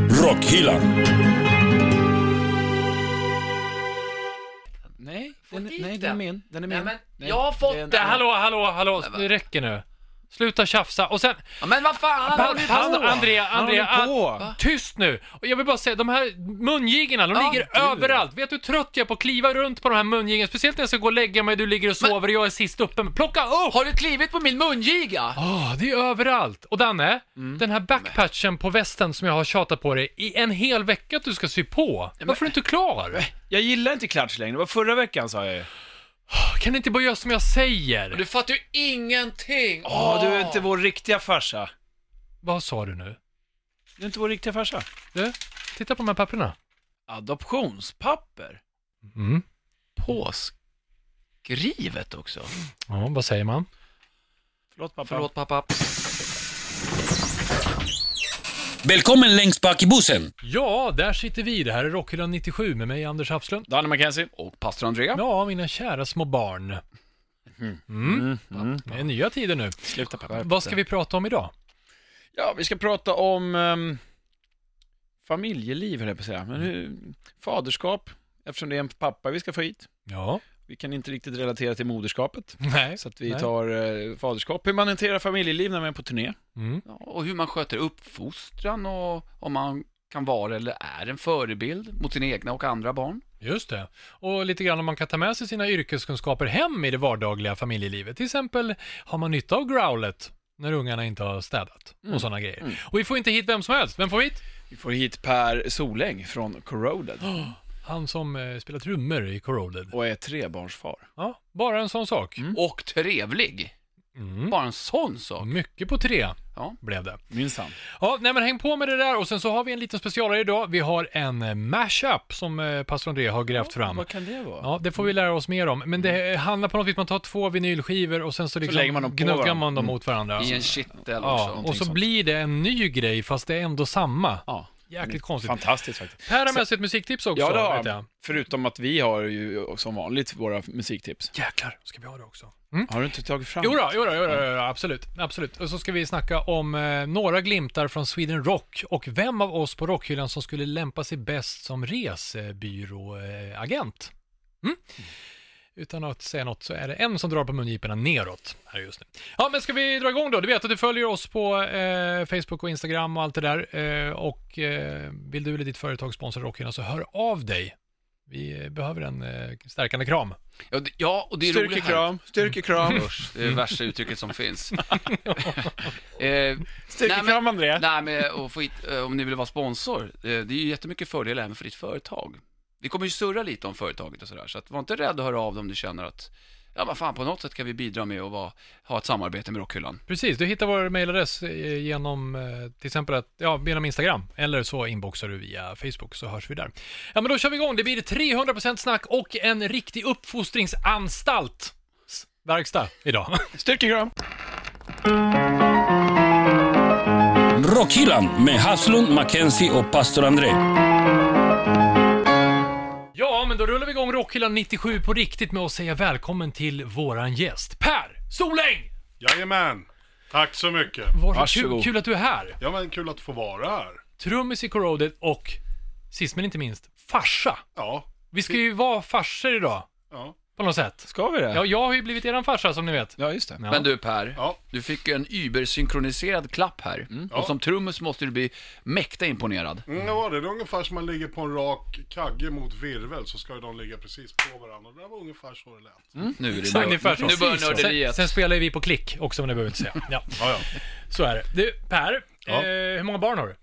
Rockhyllan. Nej, Få den, dit nej, den är den. min. Den är min. Nej, men Nej, jag har fått det är en den. annan. Hallå, hallå, hallå, Men va? det räcker nu. Sluta tjafsa. Och sen, Ja, men vad fan, han han, håller han, på! Andrea, Vad Andrea, håller du på? an- tyst nu! Och jag vill bara säga, de här mungigarna, de Ja, ligger du. överallt. Vet du hur trött jag är på att kliva runt på de här mungigarna? Speciellt när jag ska gå och lägga mig, du ligger och sover och jag är sist uppe. Men Plocka upp! Har du klivit på min mungiga? Ah, det är överallt! Och Danne, den här backpatchen på västen som jag har tjatat på dig i en hel vecka att du ska sy på. Varför är du inte klar? Jag gillar inte klatsch längre. Det var förra veckan sa jag ju. Ah, Kan du inte bara göra som jag säger? Du fattar ju ingenting! Åh, du är inte vår riktiga farsa. Vad sa du nu? Du är inte vår riktiga farsa. Du, titta på de här papperna. Adoptionspapper? Mm. Påskrivet också. Mm, Ja, vad säger man? Förlåt pappa. Förlåt pappa. Välkommen längst bak i bussen. Ja, där sitter vi. Det här är Rockhyllan 97 med mig, Anders Hafslund. Danne McKenzie. Och pastor Andrea. Ja, mina kära små barn. Mm. Mm. Det är nya tider nu. Sluta pappa. Vad ska vi prata om idag? Ja, vi ska prata om ehm, familjeliv höll jag på att säga. Men hur, faderskap, eftersom det är en pappa vi ska få hit. Ja. Vi kan inte riktigt relatera till moderskapet. Nej. Så att vi Nej. tar eh, faderskap. Hur man hanterar familjeliv när man är på turné. Mm. Ja, Och hur man sköter uppfostran och om man kan vara eller är en förebild mot sina egna och andra barn. Just det. Och lite grann om man kan ta med sig sina yrkeskunskaper hem i det vardagliga familjelivet. Till exempel, har man nytta av growlet när ungarna inte har städat Mm. och sådana grejer. Och vi får inte hit vem som helst. Vem får vi hit? Vi får hit Per Soläng från Corroded Han som eh, spelar trummor i Corroded. och Mm. är trebarnsfar. Ja, bara en sån sak. Och trevlig. Mm. Bara en sån sak. Mycket på tre Ja. blev det. Minsann. Ja, nej men häng på med det där och sen så har vi en liten specialare idag. Vi har en eh, mashup som eh, pastor André har grävt fram. Vad kan det vara? Ja, det får vi lära oss mer om. Men det eh, handlar på något vis, man tar två vinylskivor och sen så, liksom lägger man dem på Mm. gnuggar varandra. man dem mot varandra. I en kittel Ja, också. och så sånt. blir det en ny grej fast det är ändå samma. Ja. Jäkligt konstigt. Fantastiskt faktiskt. Per har med sig ett musiktips också, Ja, det har vet jag. han. Förutom att vi har ju som vanligt våra musiktips. Jäklar, ska vi ha det också? Har du inte tagit fram? Jo då, jo då, jo då, jo då, absolut, absolut. Och så ska vi snacka om eh, några glimtar från Sweden Rock och vem av oss på Rockhyllan som skulle lämpa sig bäst som resebyråagent. Eh, agent. mm? Utan att säga något så är det en som drar på mungiporna neråt här just nu. Ja, men ska vi dra igång då? Du vet att du följer oss på eh, Facebook och Instagram och allt det där. Eh, och eh, vill du eller ditt företag sponsra Rockhyllan så hör av dig. Vi eh, behöver en eh, stärkande kram. Ja, det- Ja, och det är roligt här. Styrkekram, styrkekram, Usch, det är det värsta uttrycket som finns. eh, Nej, styrkekram André. Nej, men och få hit, eh, om ni vill vara sponsor, eh, det är ju jättemycket fördelar även för ditt företag. Vi kommer ju surra lite om företaget och sådär, så att var inte rädd att höra av dig om du känner att, ja vad fan, på något sätt kan vi bidra med att vara, ha ett samarbete med Rockhyllan. Precis, du hittar vår mejladress eh, genom eh, till exempel att, ja, genom Instagram eller så inboxar du via Facebook så hörs vi där. Ja, men då kör vi igång. Det blir 300% snack och en riktig uppfostringsanstalt s- verkstad idag. Styrkekram. Rockhyllan med Haslund, Mackenzie och pastor André. ja, men då rullar vi igång Rockhyllan 97 på riktigt med att säga välkommen till våran gäst Per Soläng! Jajamän! Tack så mycket. Varför kul, Varsågod. kul att du är här. Ja men kul att få vara här. Trummis i Corroded och sist men inte minst farsa. Ja. Vi ska ju vara farsor idag Ja. på något sätt. Ska vi det? Ja, jag har ju blivit eran farsa som ni vet. Ja, just det. Ja. Mm. Men du Per, Ja. du fick ju en übersynkroniserad klapp här. Ja. Och som trummis måste du bli mäkta imponerad. Mm, ja, det är ungefär som man ligger på en rak kagge mot virvel så ska ju de ligga precis på varandra. Det där var ungefär så det lät. Nu, är det Så Mm. ungefär nörd- så. nu börjar Precis så. sen, nörderiet. sen spelar ju vi på klick också, men det behöver vi inte säga. Ja, Ja, ja. så är det. Du, Per, Ja. eh, hur många barn har du?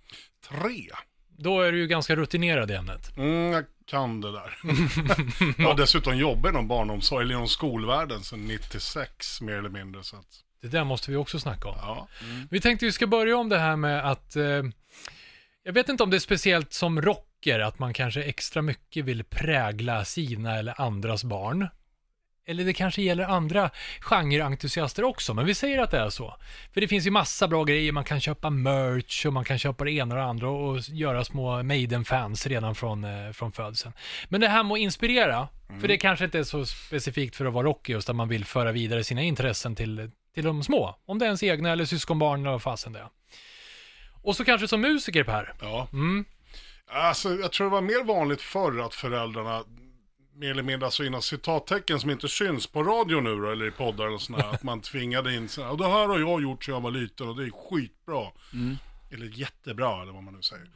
Tre. Då är du ju ganska rutinerad i ämnet. Mm, jag kan det där. jag har dessutom jobbat inom barnomsorg, eller inom skolvärlden sedan 96 mer eller mindre. Så att, Det där måste vi också snacka om. ja. Vi tänkte vi ska börja om det här med att... Eh, jag vet inte om det är speciellt som rocker, att man kanske extra mycket vill prägla sina eller andras barn. Eller det kanske gäller andra genreentusiaster också, men vi säger att det är så. För det finns ju massa bra grejer, man kan köpa merch och man kan köpa det ena och det andra och göra små Maiden-fans redan från, eh, från födseln. Men det här med att inspirera, för det kanske inte är så specifikt för att vara rockig, just att man vill föra vidare sina intressen till, till de små. Om det är ens egna eller syskonbarn eller vad fasen det är. Och så kanske som musiker Per, ja. mm, Alltså, jag tror det var mer vanligt förr att föräldrarna, mer eller mindre, alltså innan citattecken som inte syns på radio nu då, eller i poddar eller sådär, att man tvingade in sådär, och det här har jag gjort sedan jag var liten och det är skitbra. Eller jättebra, eller vad man nu säger.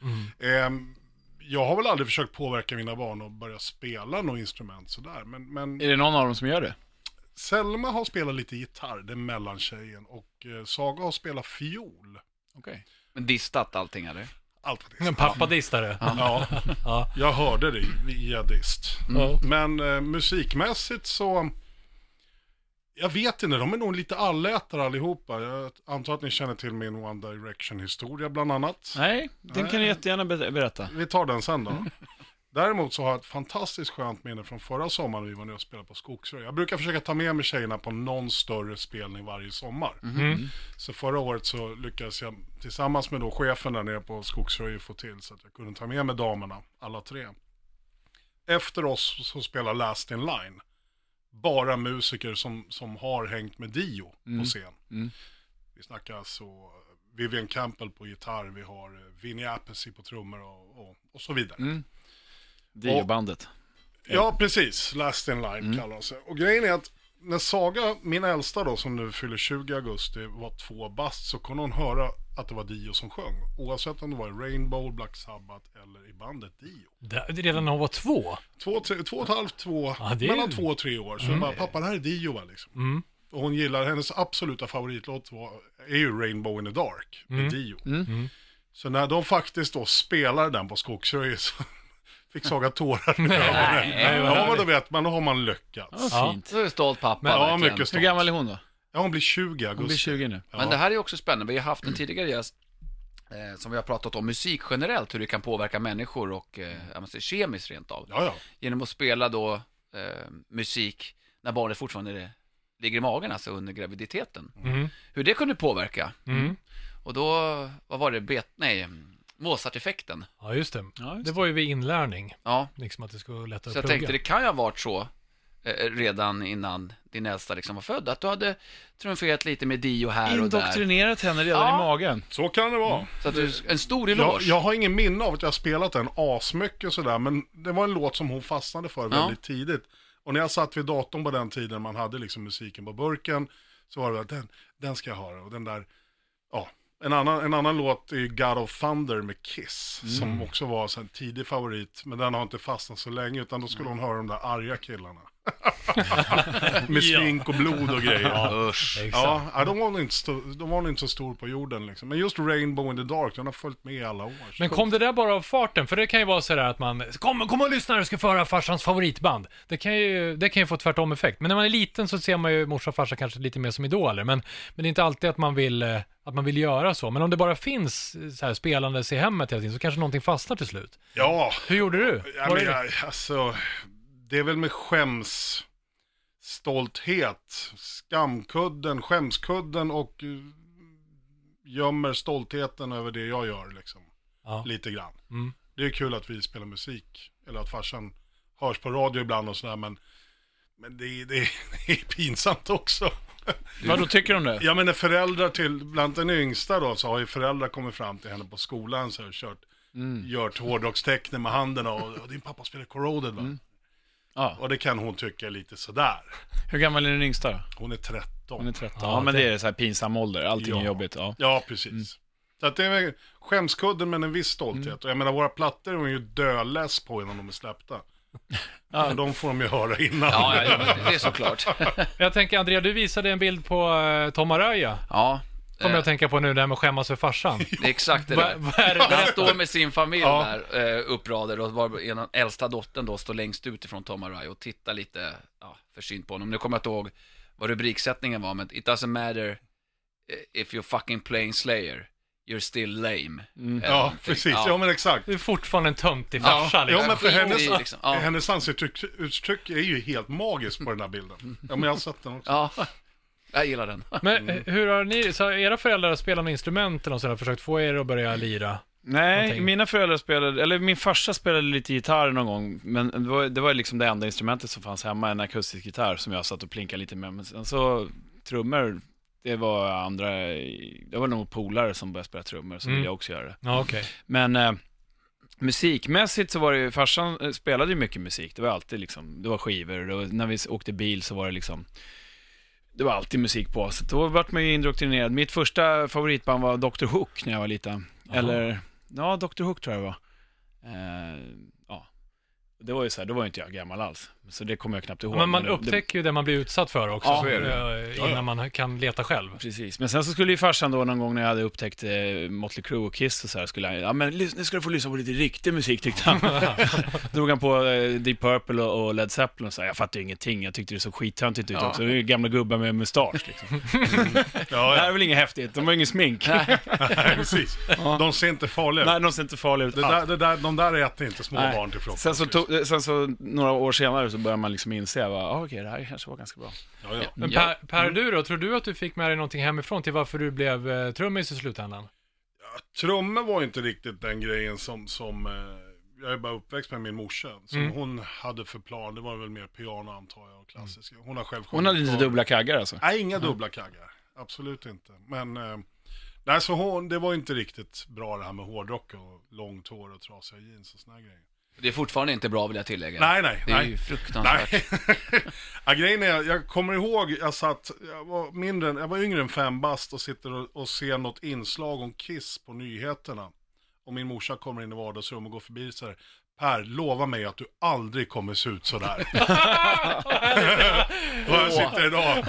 Ehm, jag har väl aldrig försökt påverka mina barn att börja spela något instrument sådär, men, men Är det någon av dem som gör det? Selma har spelat lite gitarr, det är mellantjejen, och eh, Saga har spelat fiol. Okej. Men distat allting eller? Allt vad det är. En pappadistare. Ja, Ja. jag hörde det via dist. Ja. Men eh, musikmässigt så... Jag vet inte, de är nog lite allätare allihopa. Jag antar att ni känner till min One Direction-historia bland annat. Nej, den kan du jättegärna ber- berätta. Vi tar den sen då. Däremot så har jag ett fantastiskt skönt minne från förra sommaren när vi var nere och spelade på Skogsrö. Jag brukar försöka ta med mig tjejerna på någon större spelning varje sommar. Mm. Så förra året så lyckades jag tillsammans med då chefen där nere på Skogsrö få till så att jag kunde ta med mig damerna, alla tre. Efter oss så spelar Last In Line. Bara musiker som, som har hängt med Dio på scen. Mm. Vi snackar så Vivian Campbell på gitarr, vi har eh, Vinnie Appice på trummor och, och, och så vidare. Mm. Dio-bandet. Ja, precis. Last in line kallar de sig. Och grejen är att när Saga, min äldsta då, som nu fyller 20 augusti, var två bast så kunde hon höra att det var Dio som sjöng. Oavsett om det var i Rainbow, Black Sabbath eller i bandet Dio. Där- Redan när hon var två. Två, tre, två och ett halvt, två, Ja, det är mellan ju- två och tre år. Så bara, pappa det här är Dio va liksom. Mm. Och hon gillar, hennes absoluta favoritlåt var, är ju Rainbow in the Dark med Mm. Dio. Mm. Så när de faktiskt då spelar den på Skogsröj så fick Saga tårar i ögonen. Nej, vad Ja, men härligt. då vet man, då har man lyckats. Ja. Ja, fint. Så är det stolt pappa. Men, ja, verkligen. mycket Hur stolt. gammal är hon då? Ja, hon blir 20 i augusti. Hon blir 20 nu. Ja. Men det här är också spännande. Vi har haft en tidigare gäst eh, som vi har pratat om musik generellt, hur det kan påverka människor och eh, Mm. ja, men så kemiskt rent av. Ja, ja. Genom att spela då eh, musik när barnet fortfarande är- ligger i magen, alltså under graviditeten. Mm. Hur det kunde påverka. Mm. Och då, vad var det, bet, nej, Mozart-effekten. Ja, just det. Ja, just Det var ju vid inlärning, Ja, liksom att det skulle vara lättare så jag att plugga. tänkte det kan ju ha varit så eh, redan innan din äldsta liksom var född, att du hade trumferat lite med Dio här och där. Indoktrinerat henne redan Ja. i magen. Så kan det Mm. vara. Så att du, en stor eloge. Jag, jag har ingen minne av att jag har spelat den asmycket och sådär, men det var en låt som hon fastnade för väldigt tidigt. Och när jag satt vid datorn på den tiden man hade liksom musiken på burken, så var det att den, den ska jag höra. Och den där, ja. En annan, en annan låt är ju God of Thunder med Kiss, som också var så en tidig favorit, men den har inte fastnat så länge, utan då skulle hon höra de där arga killarna. med smink och blod och grejer. Ja, exakt. Ja, ja, de, var nog inte sto- de var nog inte så stor på jorden liksom. Men just Rainbow in the Dark, den har följt med i alla år. Men kom det där bara av farten? För det kan ju vara sådär att man, kom, kom och lyssna du ska få höra farsans favoritband. Det kan, ju, det kan ju få tvärtom effekt. Men när man är liten så ser man ju morsa och farsa kanske lite mer som idoler. Men, men det är inte alltid att man, vill, eh, att man vill göra så. Men om det bara finns eh, så här spelandes i hemmet hela tiden så kanske någonting fastnar till slut. Ja, Hur gjorde du? ja Var men, det- jag, alltså, det är väl med skäms, stolthet, skamkudden, skämskudden och eh, gömmer stoltheten över det jag gör liksom. Ja. Lite grann. Mm. Det är kul att vi spelar musik, eller att farsan hörs på radio ibland och sådär, men, men det, är- det, är- det är pinsamt också. Vad då tycker de det? Ja men när föräldrar till, bland den yngsta då, så har ju föräldrar kommit fram till henne på skolan så här, och kört, Mm. gjort hårdrockstecknen med handen och, och din pappa spelar Corroded va? Mm. Ja. Och det kan hon tycka är lite sådär. Hur gammal är den yngsta då? Hon är 13. Hon är 13. Ja, Ja, men det- det är så här pinsam ålder. Allting Ja. är jobbigt. Ja. Mm. Ja precis. Så att det är väl skämskudden men en viss stolthet. Och jag menar våra plattor är hon ju döless på innan de är släppta. Ja. De får de ju höra innan. Ja, ja, ja, det är såklart. Jag tänker Andrea, du visade en bild på eh, Tomaröja. Ja, Kommer eh, jag att tänka på nu, det här med att skämmas för farsan. det är exakt det Va- där. Vad är det? Han står med sin familj Ja. där, eh, uppradad och var ena, äldsta dottern då står längst ut ifrån Tom Araya och tittar lite ja, försynt på honom. Nu kommer jag inte ihåg vad rubriksättningen var, men it doesn't matter eh, if you're fucking playing Slayer, you're still lame. Eh, typ. Eller Mm. Ja, någonting. precis. Ja men exakt. Det är fortfarande en töntig farsa Ja, liksom. men för Skit i, hennes, liksom. Ja. hennes ansiktsuttryck är ju helt magiskt på den här Mm. bilden. Ja, men jag har sett den också. Ja, jag gillar den. Men eh, hur har ni, så har era föräldrar spelat något instrument eller något sånt, där, försökt få er att börja lira? Nej, Någonting. mina föräldrar spelade, eller min farsa spelade lite gitarr någon gång, men det var, det var liksom det enda instrumentet som fanns hemma, en akustisk gitarr som jag satt och plinkade lite med. Men sen så, trummor, det var andra, det var nog polare som började spela trummor, så Mm. ville jag också göra det. Ja, okej. Men eh, Musikmässigt så var det ju, farsan eh, spelade ju mycket musik. Det var alltid liksom, det var skivor och när vi s- åkte bil så var det liksom, det var alltid musik på. Så då vart man ju indoktrinerad. Mitt första favoritband var Dr. Hook när jag var liten. Eller, ja Dr. Hook tror jag det var. Eh, ja. Det var ju så här, då var ju inte jag gammal alls. Så det kommer jag knappt ihåg. Men man det- det- upptäcker ju det man blir utsatt för också, Ja, så så är är det. innan man kan leta själv. Precis, men sen så skulle ju farsan då någon gång när jag hade upptäckt eh, Motley Crue och Kiss och så här, skulle han, ja men lys- nu ska du få lyssna på lite riktig musik tyckte han. Drog han på eh, Deep Purple och och Led Zeppelin och så här, jag fattar ju ingenting, jag tyckte det såg skittöntigt ut Ja. också. Det är ju gamla gubbar med mustasch liksom. Ja, Det här ja. är väl inget häftigt, de har ju ingen smink. Nej, precis. De ser inte farliga ut. Nej, de ser inte farliga ut Det alls. där, det där, de där äter inte små Nej. barn till frukost. Sen så, tog, sen så några år senare så börjar man liksom inse, va, ah, okej det här kanske var ganska bra. Ja, ja. Men Ja. per, per du då, tror du att du fick med dig någonting hemifrån till varför du blev eh, trummis i slutändan? Trummor var inte riktigt den grejen som, som eh, jag är bara uppväxt med min morsa. Som Mm. hon hade för plan, det var väl mer piano antar jag och klassiska. Hon har själv Mm. Hon hade sjungit lite kvar. dubbla kaggar alltså. Nej, inga dubbla kaggar. Absolut inte. Men, eh, nej så hon, det var inte riktigt bra det här med hårdrock och långt hår och trasiga jeans och såna här grejer. Det är fortfarande inte bra vill jag tillägga. Nej, nej, Det är nej. ju fruktansvärt. Nej. ja, grejen är, jag kommer ihåg, jag satt, jag var mindre, än- jag var yngre än fem bast och sitter och, och ser något inslag om Kiss på nyheterna. Och min morsa kommer in i vardagsrummet och går förbi och säger, Per, lova mig att du aldrig kommer se ut sådär. och jag sitter idag,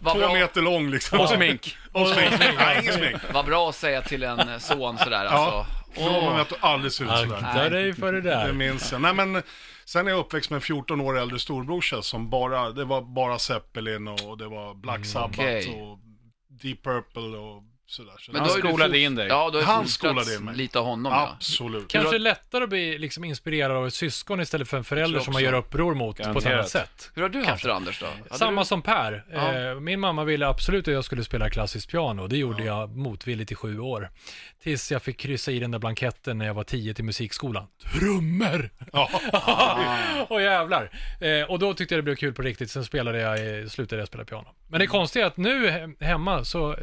Vad två bra. meter lång liksom. Och smink. och smink. Nej, ingen smink. Vad bra att säga till en son sådär Ja, alltså. lova mig att du aldrig ser ut sådär. Akta dig för det Det där. minns jag. Nej, men, sen är jag uppväxt med en 14 år äldre storbrorsa som bara, det var bara Zeppelin och det var Black Sabbath Mm, okej. och Deep Purple och sådär. Så Men det- då har ju du skolade fort- in dig. Ja, då har Han han skolade skolade in mig. lite av honom ja. Absolut. Kanske lättare att bli liksom, inspirerad av ett syskon istället för en förälder tror som man också. gör uppror mot på ett annat Garanterat. sätt. Hur har du haft Kanske. det Anders då? Hade Samma du... som Per. Ja. Eh, min mamma ville absolut att jag skulle spela klassiskt piano. Det gjorde jag motvilligt i sju år. Tills jag fick kryssa i den där blanketten när jag var tio till musikskolan. Trummor! Ja. Ah. Åh jävlar. Eh, och då tyckte jag det blev kul på riktigt, sen spelade jag, eh, slutade jag spela piano. Men Mm. det konstiga är att nu he- hemma så eh,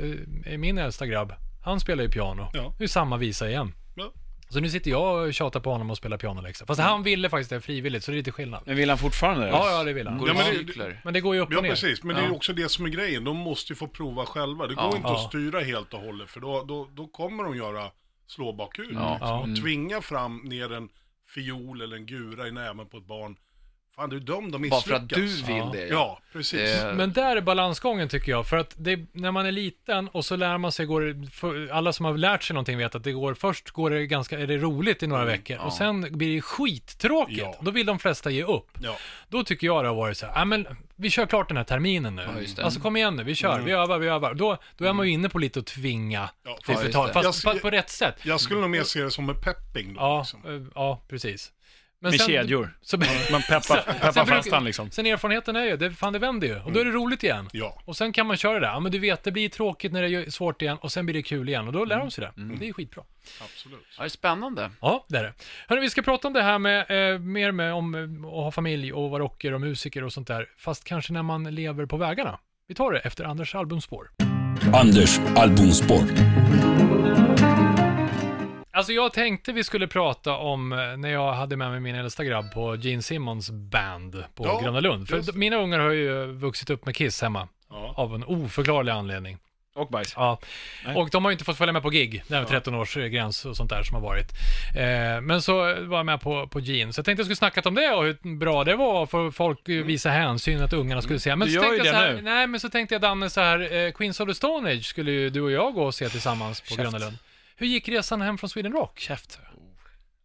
är min äldsta grabb, han spelar ju piano. Ja. Nu är samma visa igen. Ja. Så nu sitter jag och tjatar på honom och spelar pianoläxa. Fast han ville faktiskt det frivilligt, så det är lite skillnad. Men vill han fortfarande det? Ja, ja, det vill han. Går Mm. Ja, i men det- cykler? Men det går ju upp Ja, och ner. precis. Men det är ju också det som är grejen. De måste ju få prova själva. Det går Ja. inte Ja. att styra helt och hållet för då, då, då kommer de göra slå bakut. Liksom. Ja. Mm. Och tvinga fram ner en fiol eller en gura i näven på ett barn. Fan, du är dömd att Bara misslyckas. för att du vill Ja. det Eh, Ja, precis. Det- Men där är balansgången tycker jag, för att det, när man är liten och så lär man sig, går, det- för, alla som har lärt sig någonting vet att det går, först går det ganska, är det roligt i några veckor och sen blir det skittråkigt. Mm, Ja. Då vill de flesta ge upp. Ja. Då tycker jag det har varit så här, "Ah, men vi kör klart den här terminen nu. Ja, just det. alltså kom igen nu, vi kör, vi övar, vi övar. Då, då är man ju inne på lite att tvinga Mm. Ja, till ja, just betal, det. Jag fast skulle- på, på rätt sätt. Jag skulle nog mer se det som en pepping då. Ja, liksom. eh, ja precis. Men Med sen- kedjor. Så, Man peppar, peppar fast han liksom. sen erfarenheten är ju, det, fan det vänder ju. Och Mm. då är det roligt igen. Ja. Och sen kan man köra det där. Ja, men du vet, det blir tråkigt när det är svårt igen och sen blir det kul igen och då lär de sig Mm. det. Det är skitbra. Absolut. Ja, det är spännande. Ja, det är det. Hörni, vi ska prata om det här med, eh, mer med om eh, att ha familj och vara rocker och musiker och sånt där. Fast kanske när man lever på vägarna. Vi tar det efter Anders albumspår. Anders albumspår. Alltså jag tänkte vi skulle prata om eh, när jag hade med mig min äldsta grabb på Gene Simmons band på Ja, Gröna Lund. För just d- mina ungar har ju eh, vuxit upp med Kiss hemma. Ja. Av en oförklarlig anledning. Och bajs. Ja, och de har ju inte fått följa med på gig, det här med 13-årsgräns och sånt där som har varit. Eh, men så var jag med på, på Gene, så jag tänkte jag skulle snacka om det och hur bra det var för folk eh, visa hänsyn att ungarna skulle säga. Men Mm. Du så gör ju tänkte jag det så här, nu. nej men så tänkte jag Danne så här, eh, Queens of the Stone Age skulle ju du och jag gå och se tillsammans på Gröna Lund. Hur gick resan hem från Sweden Rock? Käft.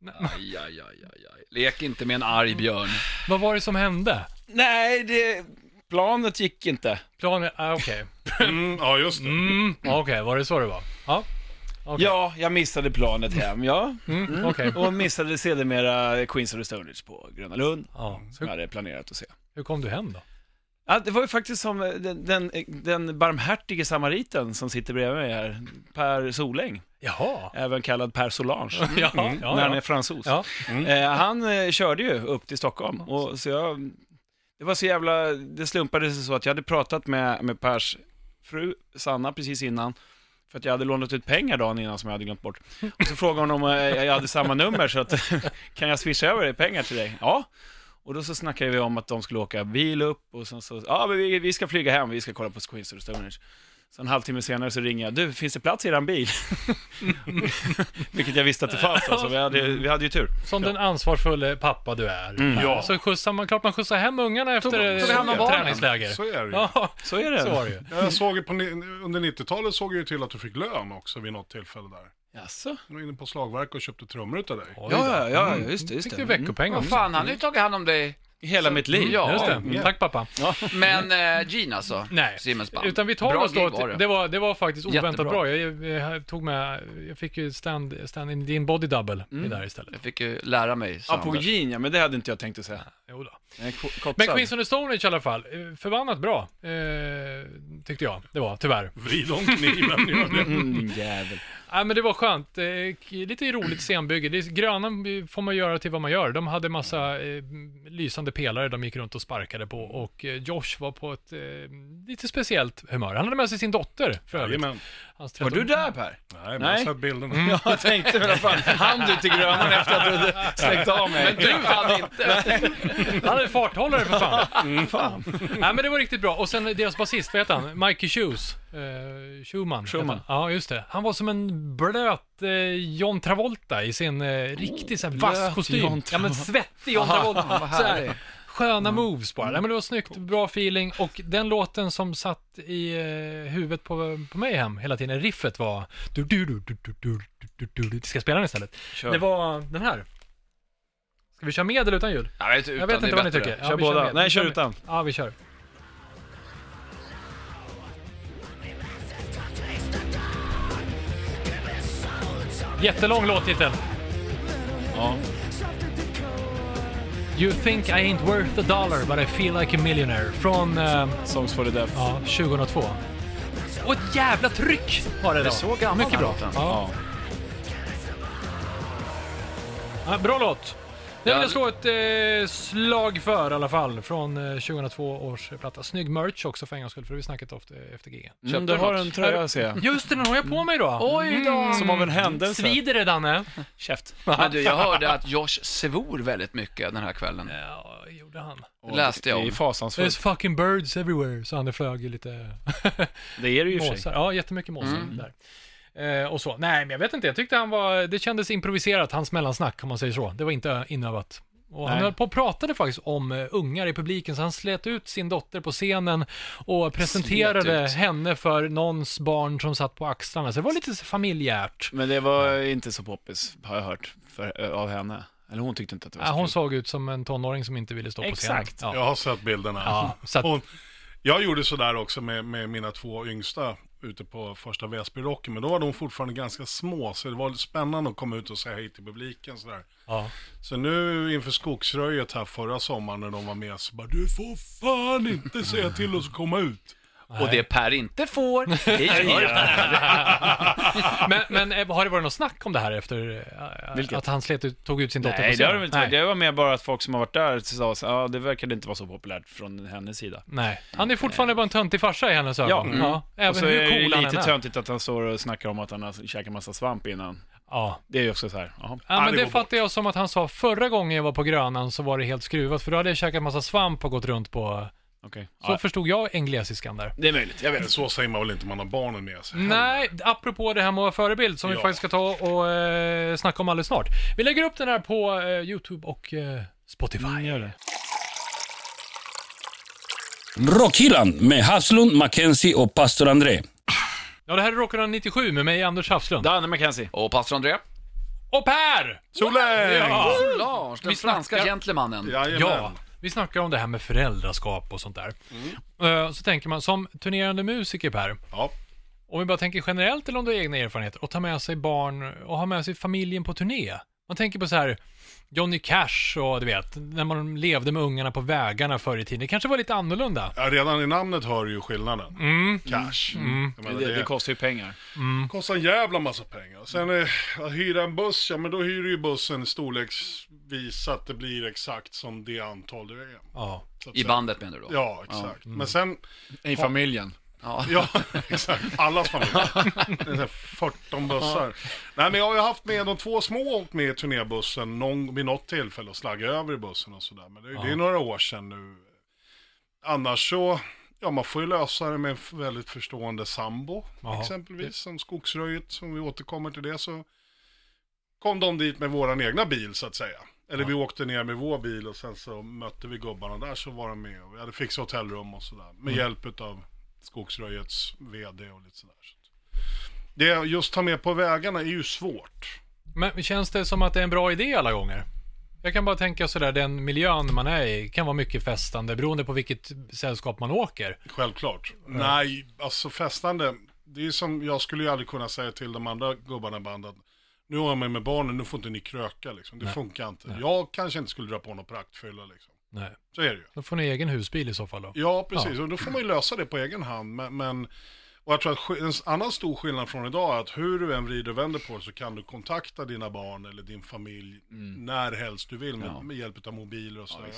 Aj, aj, aj, aj, aj. Lek inte med en arg björn. Vad var det som hände? Nej, det... Planet gick inte. Planen, ah, okej. Mm, ja, just det. Mm, okej, var det så det var? Ja, Okej. Ja, jag missade planet hem, ja. mm, okej. Och missade sedermera Queens of the Stone Age på Gröna Lund, Ja, som jag hur, hade planerat att se. hur kom du hem då? Ja, det var ju faktiskt som eh, den, den, den barmhärtige samariten som sitter bredvid mig här, Per Soläng, Jaha. även kallad Per Solange, Ja, ja, Mm. när han är ja. fransos. ja. Eh, han eh, körde ju upp till Stockholm och så jag, det var så jävla, det slumpade sig så att jag hade pratat med, med Pers fru Sanna precis innan För att jag hade lånat ut pengar dagen innan som jag hade glömt bort. Och så frågade hon om eh, jag hade samma nummer, så att kan jag swisha över dig pengar till dig? Ja. Och då så snackade vi om att de skulle åka bil upp och sen så, ja men vi, vi ska flyga hem, vi ska kolla på Queens of the Stone Age. Så en halvtimme senare så ringer jag, du finns det plats i eran bil? Vilket jag visste att det fanns alltså, vi hade, vi hade ju tur. Som den ansvarsfulle pappa du är. Mm. Ja. Så skjutsar man, klart man skjutsar hem ungarna efter ett tog hand om barnen. träningsläger. Så är det ju. Ja, Så är det. så var det ju. Jag såg ju på, ni- under 90-talet såg jag ju till att du fick lön också vid något tillfälle där. Jaså? Jag var inne på slagverk och köpte trummor utav dig. Oj då. Ja, ja, ja, just det, just Fick det. Mm. du veckopeng Mm. Vad också. fan, han har ju tagit hand om dig. Hela mitt liv. Ja. Just det. ja. Tack pappa. Men eh, Gene alltså? Nej, Simons band. utan vi tar Bra oss då gig till, var det. det. var, det var faktiskt oväntat Jättebra. bra. Jag, jag tog med, jag fick ju stand, stand in din body double i där istället. Jag fick ju lära mig. Ja, sa på Anders. jean ja, men det hade inte jag tänkt att säga. Jo då. Nej, ko- kotsad. Men Queens of the Stone Age i alla fall, eh, förbannat bra, eh, tyckte jag. Det var, tyvärr. Vrid om kniven, gör det. Mm, din jävel. Nej men det var skönt. Eh, k- lite roligt scenbygge. Det, är- gröna får man göra till vad man gör. De hade massa eh, lysande pelare de gick runt och sparkade på och eh, Josh var på ett eh, lite speciellt humör. Han hade med sig sin dotter för övrigt. Jajamän. Hans Var 13 du där Per? Nej, men jag Nej. har sett bilderna. Ja, jag tänkte väl fan, han du till Grönan efter att du hade släckt av mig? Men du hade inte. Han hade farthållare för fan. Mm, fan. Nej men det var riktigt bra. Och sen deras basist, vad heter han? Mikey Shoes. Eh, Schumann. heter Schumann. han. Ja, just det. Han var som en blöt eh, John Travolta i sin eh, riktigt sån här vass blöt kostym. John ja men svettig John Travolta. vad Så här, härligt. Mm. sköna moves bara. Nej men det var snyggt, bra feeling. Och den låten som satt i eh, huvudet på, på mig hem hela tiden, riffet var... Du, du, du, du, du, du, du, du, du. Ska jag spela den istället? Kör. Det var den här. Ska vi köra med eller utan ljud? Jag vet, utan, Jag vet det är inte vad ni bättre. tycker. Ja, Kör vi båda. med. Nej, Vi kör med. utan. Ja, vi kör. Jättelång låttitel. Ja. You think I ain't worth a dollar but I feel like a millionaire. Från eh, Songs for the deaf. ja, 2002. Och ett jävla tryck var det då. så gammal Mycket den bra. låten. Ja. Ja, bra låt. Den vill jag slå ett eh, slag för i alla fall. Från eh, 2002 års platta. Snygg merch också för en gångs skull, för det har vi snackat ofta efter gigen. Mm, du har en tröja ser jag. Just det, den har jag på mig Mm. då. Oj då. Som av en händelse. Svider det Danne? Käft. Men du, jag hörde att Josh svor väldigt mycket den här kvällen. Ja, gjorde han. Det läste jag Det är om. fasansfullt. There's fucking birds everywhere, så han det flög ju lite Det är det ju i och för sig. Mm. måsar. Ja, jättemycket måsar där. Eh, och så. Nej, men jag vet inte. Jag tyckte han var... Det kändes improviserat, hans mellansnack, om man säger så. Det var inte inövat. Och han Nej. höll på och pratade faktiskt om eh, ungar i publiken, så han slet ut sin dotter på scenen och presenterade ut. henne för någons barn som satt på axlarna. Så det var lite så familjärt. Men det var inte så poppis, har jag hört, för, ö, av henne. Eller hon tyckte inte att det var Ja, så hon kul. såg ut som en tonåring som inte ville stå på scenen. Exakt. Ja. Jag har sett bilderna. Ja, så att- Hon, jag gjorde sådär också med, med mina två yngsta ute på första Väsbyrocken, men då var de fortfarande ganska små, så det var lite spännande att komma ut och säga hej till publiken sådär. Ja. Så nu inför skogsröjet här förra sommaren när de var med så bara du får fan inte säga till oss att komma ut. Och det Per inte får, det gör Men, men eh, har det varit något snack om det här efter eh, Vilket? att han slet ut, tog ut sin dotter på Nej, det har de inte. Nej. Det var mer bara att folk som har varit där sa så, ja, det verkade inte vara så populärt från hennes sida. Nej. Han är fortfarande bara en töntig farsa i hennes ögon. mm. Ja, även och så hur är det cool han än lite är. töntigt att han står och snackar om att han har käkat massa svamp innan. Ja. Det är ju också så här, jaha. Ja, men det det går fattar jag som att han sa förra gången jag var på Grönan så var det helt skruvat för då hade jag käkat massa svamp och gått runt på... Okej. Så Ja, förstod jag englesiskan där. det är möjligt, jag vet Men inte. så säger man väl inte om man har barnen med sig? Nej, apropå det här med att vara förebild som vi Ja. faktiskt ska ta och eh, snacka om alldeles snart. Vi lägger upp den här på eh, YouTube och eh, Spotify. gör det. Rockhyllan med Haslund, Mackenzie och pastor André. Ja, det här är Rockarna 97 med mig, Anders Hafslund. Danne McKenzie. Och pastor André? Och Per! Soläng! Ja. Lars, den Vi franska snackar- gentlemannen. Jajamän. Ja, vi snackar om det här med föräldraskap och sånt där. Eh, Så tänker man, som turnerande musiker Per, Ja. om vi bara tänker generellt eller om du har egna erfarenheter, och ta med sig barn och ha med sig familjen på turné. Man tänker på så här Johnny Cash och du vet, när man levde med ungarna på vägarna förr i tiden. Det kanske var lite annorlunda. Ja, redan i namnet hör du ju skillnaden. Mm. Cash. Jag menar, Det, det kostar ju pengar. kostar en jävla massa pengar. Sen eh, att hyra en buss, ja men då hyr du ju bussen storleksvis så att det blir exakt som det antal du är. Ja. Så att I säga. bandet menar du då? Ja, exakt. Men sen, I familjen. Ja. Ja, exakt. Allas familj. Det är så här 14 bussar. Nej, men jag har ju haft med de två små åkt med i turnébussen någon, vid något tillfälle och slaggat över i bussen och sådär. Men det, det är några år sedan nu. Annars så, ja man får ju lösa det med en f- väldigt förstående sambo. Ja. Exempelvis som skogsröjet, som vi återkommer till det så kom de dit med våran egna bil så att säga. Eller vi åkte ner med vår bil och sen så mötte vi gubbarna där så var de med och vi hade fixat hotellrum och sådär. Med hjälp av Skogsröjets vd och lite sådär. Så att- Det är- just ta med på vägarna är ju svårt. Men känns det som att det är en bra idé alla gånger? Jag kan bara tänka sådär, den miljön man är i kan vara mycket festande beroende på vilket sällskap man åker. Självklart. Nej, alltså festande. Det är ju som, jag skulle ju aldrig kunna säga till de andra gubbarna i bandet. Nu har jag mig med barnen, nu får inte ni kröka liksom. Det funkar inte. Jag kanske inte skulle dra på någon praktfylla liksom. Nej, Så är det ju. då får ni egen husbil i så fall då. Ja, precis. Och då får man ju lösa det på egen hand. Men, men, och jag tror att sk- en s- annan stor skillnad från idag är att hur du än vrider och vänder på det så kan du kontakta dina barn eller din familj när helst du vill med, med hjälp av mobiler och sådär.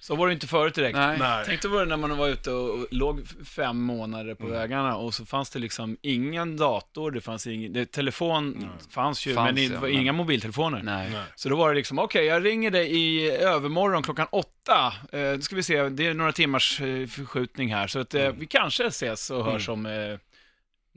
Så var det inte förut direkt. Nej. Nej. Tänk dig var det när man var ute och och låg f- fem månader på vägarna och så fanns det liksom ingen dator, det fanns ingen, det, telefon Mm. fanns ju, Fanns, men det ja, var men- inga mobiltelefoner. Nej. Nej. Så då var det liksom, okej, jag ringer dig i övermorgon klockan åtta. Eh, då ska vi se, det är några timmars eh, förskjutning här, så att, eh, vi kanske ses och hörs om eh,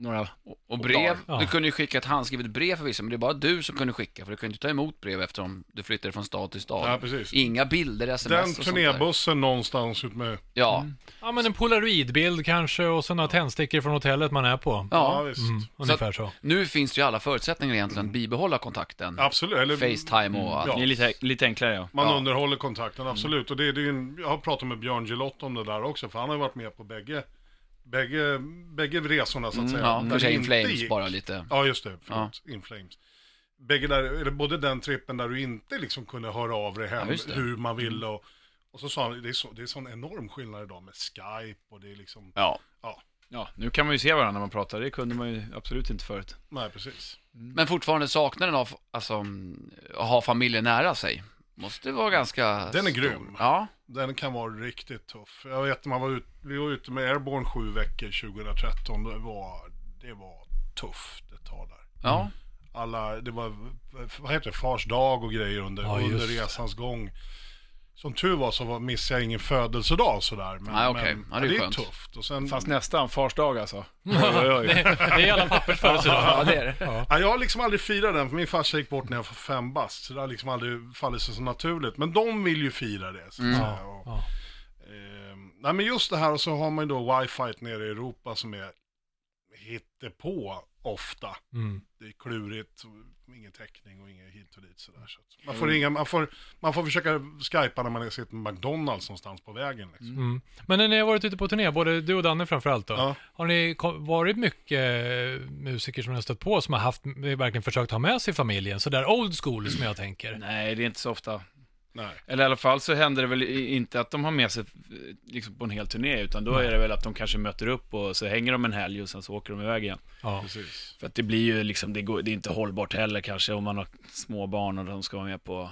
några... Och brev, Ja. du kunde ju skicka ett handskrivet brev förvisso, men det är bara du som kunde skicka, för du kunde inte ta emot brev eftersom du flyttade från stad till stad. Ja, precis. Inga bilder, sms Den och sånt där. turnébussen någonstans ut med... Ja. Ja, men en polaroidbild kanske och så några tändstickor från hotellet man är på. Ja, ja. visst. Mm, ungefär så. Nu finns det ju alla förutsättningar egentligen att bibehålla kontakten. Absolut. Eller, Facetime och allt. Ja. Det är lite, lite enklare ja. Man Ja. Mm. underhåller kontakten, absolut. Och det, det är ju en, jag har pratat med Björn Gelott om det där också, för han har ju varit med på bägge, bägge, bägge resorna så att säga. Mm, Ja, Där kanske det In inte Flames gick. bara lite. Ja, just det. Förlåt. In Flames. Bägge där, eller både den trippen där du inte liksom kunde höra av dig hem Ja, just det. Mm. hur man ville och, och så sa han, det är, så, det är sån enorm skillnad idag med Skype och det är liksom, Ja. ja. Nu kan man ju se varandra när man pratar, det kunde man ju absolut inte förut. nej precis. Men fortfarande saknaden av alltså, mm, att ha familjen nära sig måste vara ganska Den är stor. grym. Ja, Den kan vara riktigt tuff. Jag vet när man var ut, vi var ute med Airborne sju veckor 2013, det var, det var tufft ett tag där. ja. alla, det var, vad heter det, fars dag och grejer under, Ja, just under det. resans gång. Som tur var så var, missade jag ingen födelsedag sådär. Men, Nej, okej. men Ja, det är det är skönt. tufft. Och sen, Fast nästan, fars dag alltså. Det är alla pappers födelsedag. det är det. ja, jag har liksom aldrig firat den, för min farsa gick bort när jag var fem bast. Så det har liksom aldrig fallit sig så naturligt. Men de vill ju fira det. Mm. Så att säga. Och, Ja. ehm, nej, men just det här, och så har man ju då wifi nere i Europa som är hittepå ofta. Mm. det är klurigt, och ingen täckning och inget hit och dit sådär. Så att man, får Mm. ringa, man, får, man får försöka skypa när man är- sitter med McDonalds någonstans på vägen. Liksom. Mm. Men när ni har varit ute på turné, både du och Danne framförallt då, Ja. har ni ko- varit mycket eh, musiker som ni har stött på som har haft, eh, verkligen försökt ha med sig familjen, sådär old school som jag tänker? Nej, det är inte så ofta. Nej. Eller i alla fall så händer det väl i- inte att de har med sig eh, liksom på en hel turné, utan då är det väl att de kanske möter upp och så hänger de en helg och sen så åker de iväg igen. Ja. Precis. För att det blir ju liksom, det, går, det är inte hållbart heller kanske om man har små barn och de ska vara med på,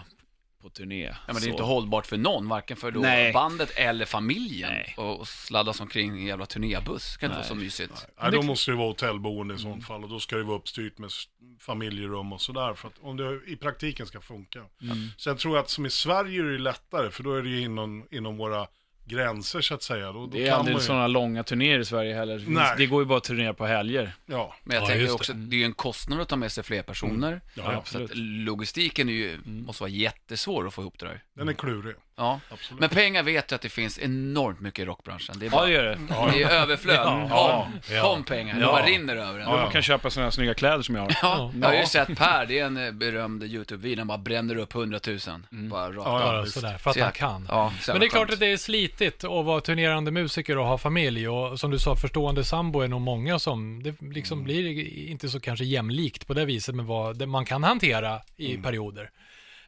på turné. Ja, men det är Så. inte hållbart för någon, varken för då Nej. bandet eller familjen. Nej. Och och sladdas omkring i en jävla turnébuss. Det kan inte vara så mysigt. Nej, då måste det vara hotellboende i Mm. sånt fall och då ska det vara uppstyrt med s- familjerum och sådär för att om det i praktiken ska funka. Mm. Sen tror jag att som i Sverige är det lättare för då är det ju inom, inom våra gränser så att säga. Då, då Det är kan man ju, aldrig sådana långa turnéer i Sverige heller. Det finns- Nej. Det går ju bara att turnera på helger. Ja, Men jag Ja, tänker just också, det. är ju en kostnad att ta med sig fler personer. ja, ja. Så att logistiken är ju, måste vara jättesvår att få ihop det där. den är klurig. Ja. Absolut. Men pengar vet jag att det finns enormt mycket i rockbranschen. Det är, Ja, bara, det gör det. det är överflöd. Ja. Kom, kom pengar, det bara rinner över en. Ja, Man kan köpa sådana här snygga kläder som jag har. Ja, jag har ju sett Per, det är en eh, berömd YouTube-video, han bara bränner upp hundratusen. Bara rakt Ja, av. Bara visst. sådär, för att Så jag- man kan. Ja, så Men jävla det är klart skönt. att det är slitigt att vara turnerande musiker och ha familj och som du sa, förstående sambo är nog många som, det Mm. liksom blir inte så kanske jämlikt på det viset med vad det man kan hantera i Mm. perioder.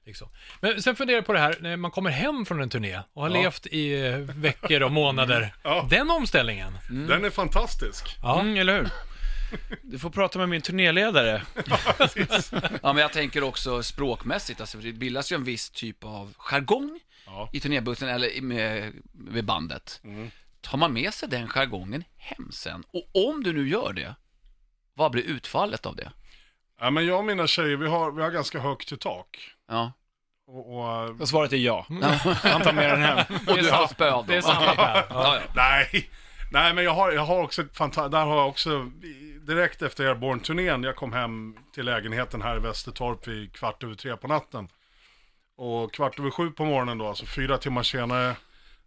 Liksom. Men sen funderar jag på det här, när man kommer hem från en turné och har levt i eh, veckor och månader. Mm. Ja. Den omställningen. Den är fantastisk. Ja. Mm, eller hur? Du får prata med min turnéledare. Ja, men jag tänker också språkmässigt, alltså, det bildas ju en viss typ av jargong Ja. i turnébussen eller i- med, med bandet. Tar man med sig den jargongen hem sen? Och om du nu gör det, vad blir utfallet av det? Ja, men jag och mina tjejer, vi har, vi har ganska högt i tak. Ja. Och, och, Och svaret är ja. Han tar med den hem. Och du har spö av Det är dem? samma här. Ja. Ja, ja. Nej, nej men jag har, jag har också ett fanta- där har jag också, direkt efter Airborne-turnén, jag kom hem till lägenheten här i Västertorp vid kvart över tre på natten. Och kvart över sju på morgonen då, alltså fyra timmar senare,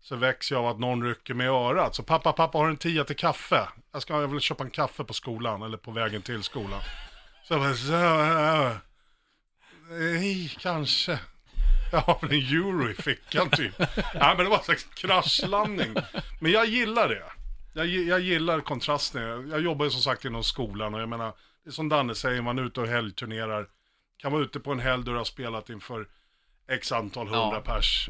så väcks jag av att någon rycker mig i örat. Så pappa, pappa har du en tia till kaffe. Jag, ska, jag vill köpa en kaffe på skolan, eller på vägen till skolan. Så jag bara, så, äh, nej, kanske. Jag har väl en euro i fickan typ. Nej men det var en slags kraschlandning. Men jag gillar det. Jag, gi- jag gillar kontrasten. Jag- Jag jobbar ju som sagt inom skolan och jag menar, det är som Danne säger, man är ute och helgturnerar. Kan vara ute på en helg då du har spelat inför x antal hundra Ja. pers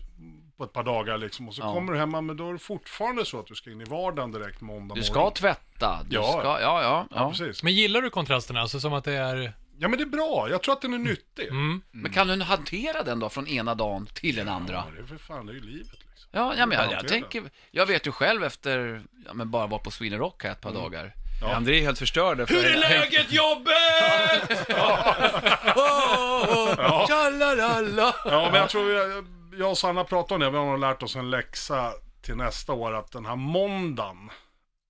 på ett par dagar liksom. Och så Ja. kommer du hemma, men då är det fortfarande så att du ska in i vardagen direkt måndag Du ska morgon. tvätta, du Ja. ska... Ja, ja. Ja, ja. precis. Men gillar du kontrasterna? Alltså som att det är... Ja men det är bra, jag tror att den är nyttig. Mm. Men kan du hantera den då från ena dagen till den andra? Ja, det är för fan, det är ju livet liksom. Ja, ja men jag, jag Hantera tänker... Jag vet ju själv efter... Ja, men bara vara på Sweden Rock här ett par dagar. André är helt förstörd. efter- jobbet? oh, oh, oh. Tjalalala. Ja, men jag tror jag, jag och Sanna pratade om det. Vi har nog lärt oss en läxa till nästa år att den här måndagen,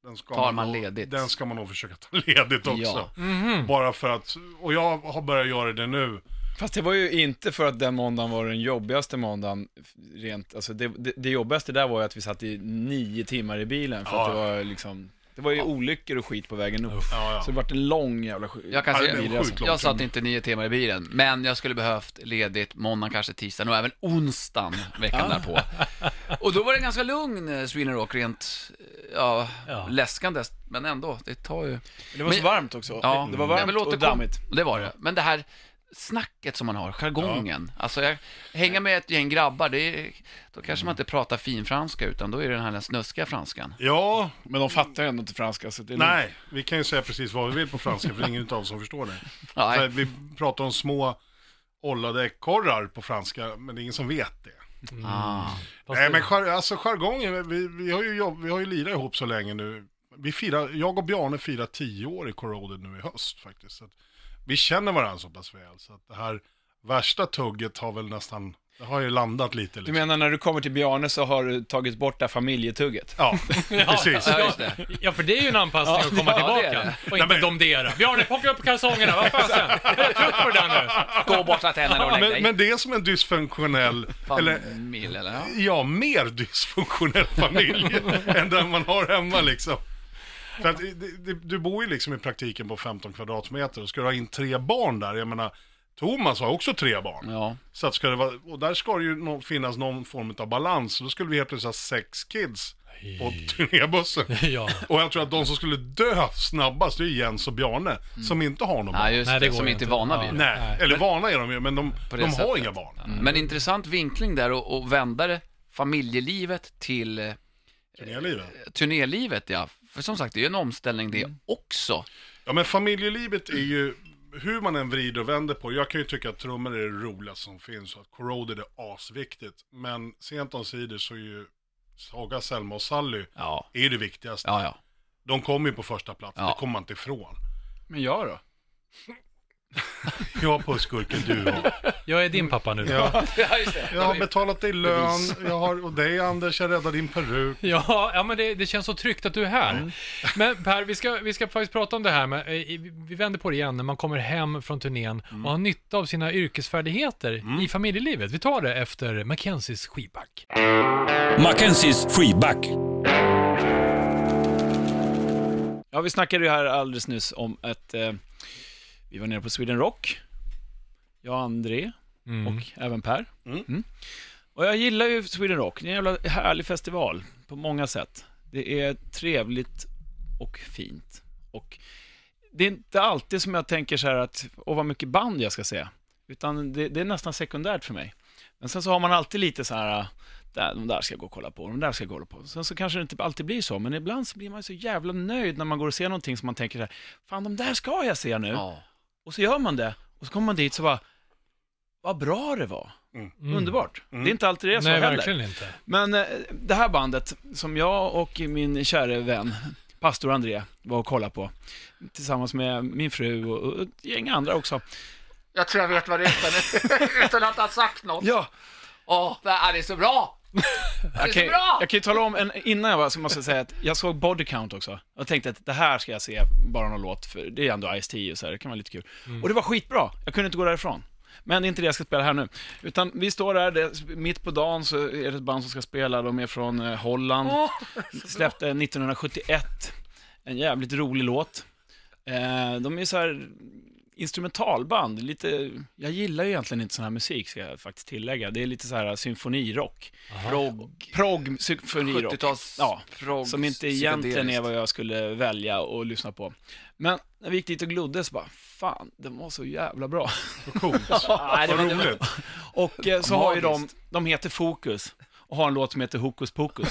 den ska Tar man nog- ledigt. Den ska man nog försöka ta ledigt också. Ja. Mm. Mm. Mm-hmm. Bara för att, och jag har börjat göra det nu. Fast det var ju inte för att den måndagen var den jobbigaste måndagen. Rent, alltså det, det, det jobbigaste där var ju att vi satt i nio timmar i bilen för att det Ja. var liksom... Det var ju olyckor och skit på vägen upp. Ja, ja. Så det vart en lång jävla skit. Jag kan Ja, det säga, blev sjukt långt. jag satt inte nio timmar i bilen, men jag skulle behövt ledigt måndag, kanske tisdag och även onsdag veckan därpå. Och då var det en ganska lugn eh, Sweden Rock, rent eh, ja, Ja. läskande, men ändå, det tar ju... Det var så Men- varmt också. Ja, det var nej, men varmt låt det och kom- dammigt. Det var det. Men det här snacket som man har, jargongen. Alltså, jag, hänga med ett gäng grabbar, det är, då kanske man inte pratar finfranska, utan då är det den här snuskiga franskan. Ja, Men de fattar ju ändå inte franska, så det är lugnt. nej, vi kan ju säga precis vad vi vill på franska för ingen av oss som förstår det. Nej. Så Vi pratar om små ollade ekorrar på franska, men det är ingen som vet det. Ah. Fast Nej det- men jar, alltså jargongen, vi, vi har ju, jobb, vi har ju lirat ihop så länge nu. Vi firar, jag och Bjarne firar tio år i Corroded nu i höst faktiskt. Så att vi känner varandra så pass väl så att det här värsta tugget har väl nästan, det har ju landat Du lite. Liksom. menar när du kommer till Bjarne så har du tagit bort det här familjetugget? Ja, precis. Ja, just det. Ja, för det är ju en anpassning att komma ja, det är tillbaka. det. Och inte domdera. Bjarne, plocka upp kalsongerna, vad fasen. Jag är trött på det där nu. Gå och borsta tänderna och lägg dig. Men, men det är som en dysfunktionell, eller Familj, eller? Ja. ja, mer dysfunktionell familj än den man har hemma liksom. För att det, det, du bor ju liksom i praktiken på 15 kvadratmeter och ska du ha in tre barn där, jag menar, Thomas har också tre barn. ja. Så att ska det vara, och där ska det ju nå- finnas någon form av balans, så då skulle vi helt plötsligt ha sex kids på turnébussen. Ja. Och jag tror att de som skulle dö snabbast, det är Jens och Bjarne, som inte har någon Mm. Nej, barn. just Nej, det det, går som ju inte är inte. vana Ja. vid det. Nej, eller vana är de ju, men de, På de det har sättet. inga barn. Mm. Men intressant vinkling där och, och vända det, familjelivet till eh, Turnélivet. turnélivet, ja. För som sagt, det är ju en omställning Mm. det också. Ja, men familjelivet är ju, hur man än vrider och vänder på, jag kan ju tycka att trummor är det roligaste som finns och att corroded är asviktigt. Men sent omsider så är ju Saga, Selma och Sally Ja, är ju det viktigaste. ja, ja. De kommer ju på första plats, Ja. det kommer man inte ifrån. Men jag då? Ja, pussgurka, du och... Jag är din pappa nu. Ja, Ja, ja just det. jag har betalat dig lön, jag har, och dig Anders, jag räddade din peruk. ja, men det, det känns så tryggt att du är här. Men Per, vi ska, vi ska faktiskt prata om det här med, eh, i- vi vänder på det igen, när man kommer hem från turnén och har nytta av sina yrkesfärdigheter i familjelivet. Vi tar det efter Mackenzies skivback. Mackenzies freeback. Ja, vi snackade ju här alldeles nyss om att eh, vi var nere på Sweden Rock. Jag, André Mm. och även Per. Mm. Och jag gillar ju Sweden Rock. Det är en jävla härlig festival på många sätt. Det är trevligt och fint. Och det är inte alltid som jag tänker så här att, åh vad mycket band jag ska se. Utan det, det är nästan sekundärt för mig. Men sen så har man alltid lite så här, där, de där ska jag gå och kolla på, de där ska jag kolla på. Sen så kanske det inte alltid blir så, men ibland så blir man ju så jävla nöjd när man går och ser någonting som man tänker så här, fan de där ska jag se nu. Ja. Och så gör man det, och så kommer man dit så bara, vad bra det var. Mm. Underbart. Mm. Det är inte alltid det är så Nej, heller. verkligen inte. Men eh, det här bandet som jag och min käre vän Pastor André var och kollade på tillsammans med min fru och och ett gäng andra också. Jag tror jag vet vad det är utan, utan att ha sagt något. Ja, Åh, det här är så bra! Det är jag kan, så bra! jag kan ju tala om, en, innan jag var så måste jag säga att jag såg Body Count också. Jag tänkte att det här ska jag se, bara någon låt, för det är ändå Ice-T och så här, det kan vara lite kul. Mm. Och det var skitbra, jag kunde inte gå därifrån. Men det är inte det jag ska spela här nu. Utan vi står där, det, mitt på dagen så är det ett band som ska spela, de är från eh, Holland. Åh, släppte 1971 en jävligt rolig låt. Eh, de är så här instrumentalband, lite, jag gillar ju egentligen inte sån här musik ska jag faktiskt tillägga. Det är lite så här symfonirock. Progg. Progg, symfonirock. 70-tals Ja, progg. Som inte egentligen är vad jag skulle välja och lyssna på. Men när vi gick dit och glodde så bara, fan, den var så jävla bra. Vad coolt. Nej, det Vad var- roligt. och eh, så har ju de, Magiskt. de heter Fokus och har en låt som heter Hokus Pokus.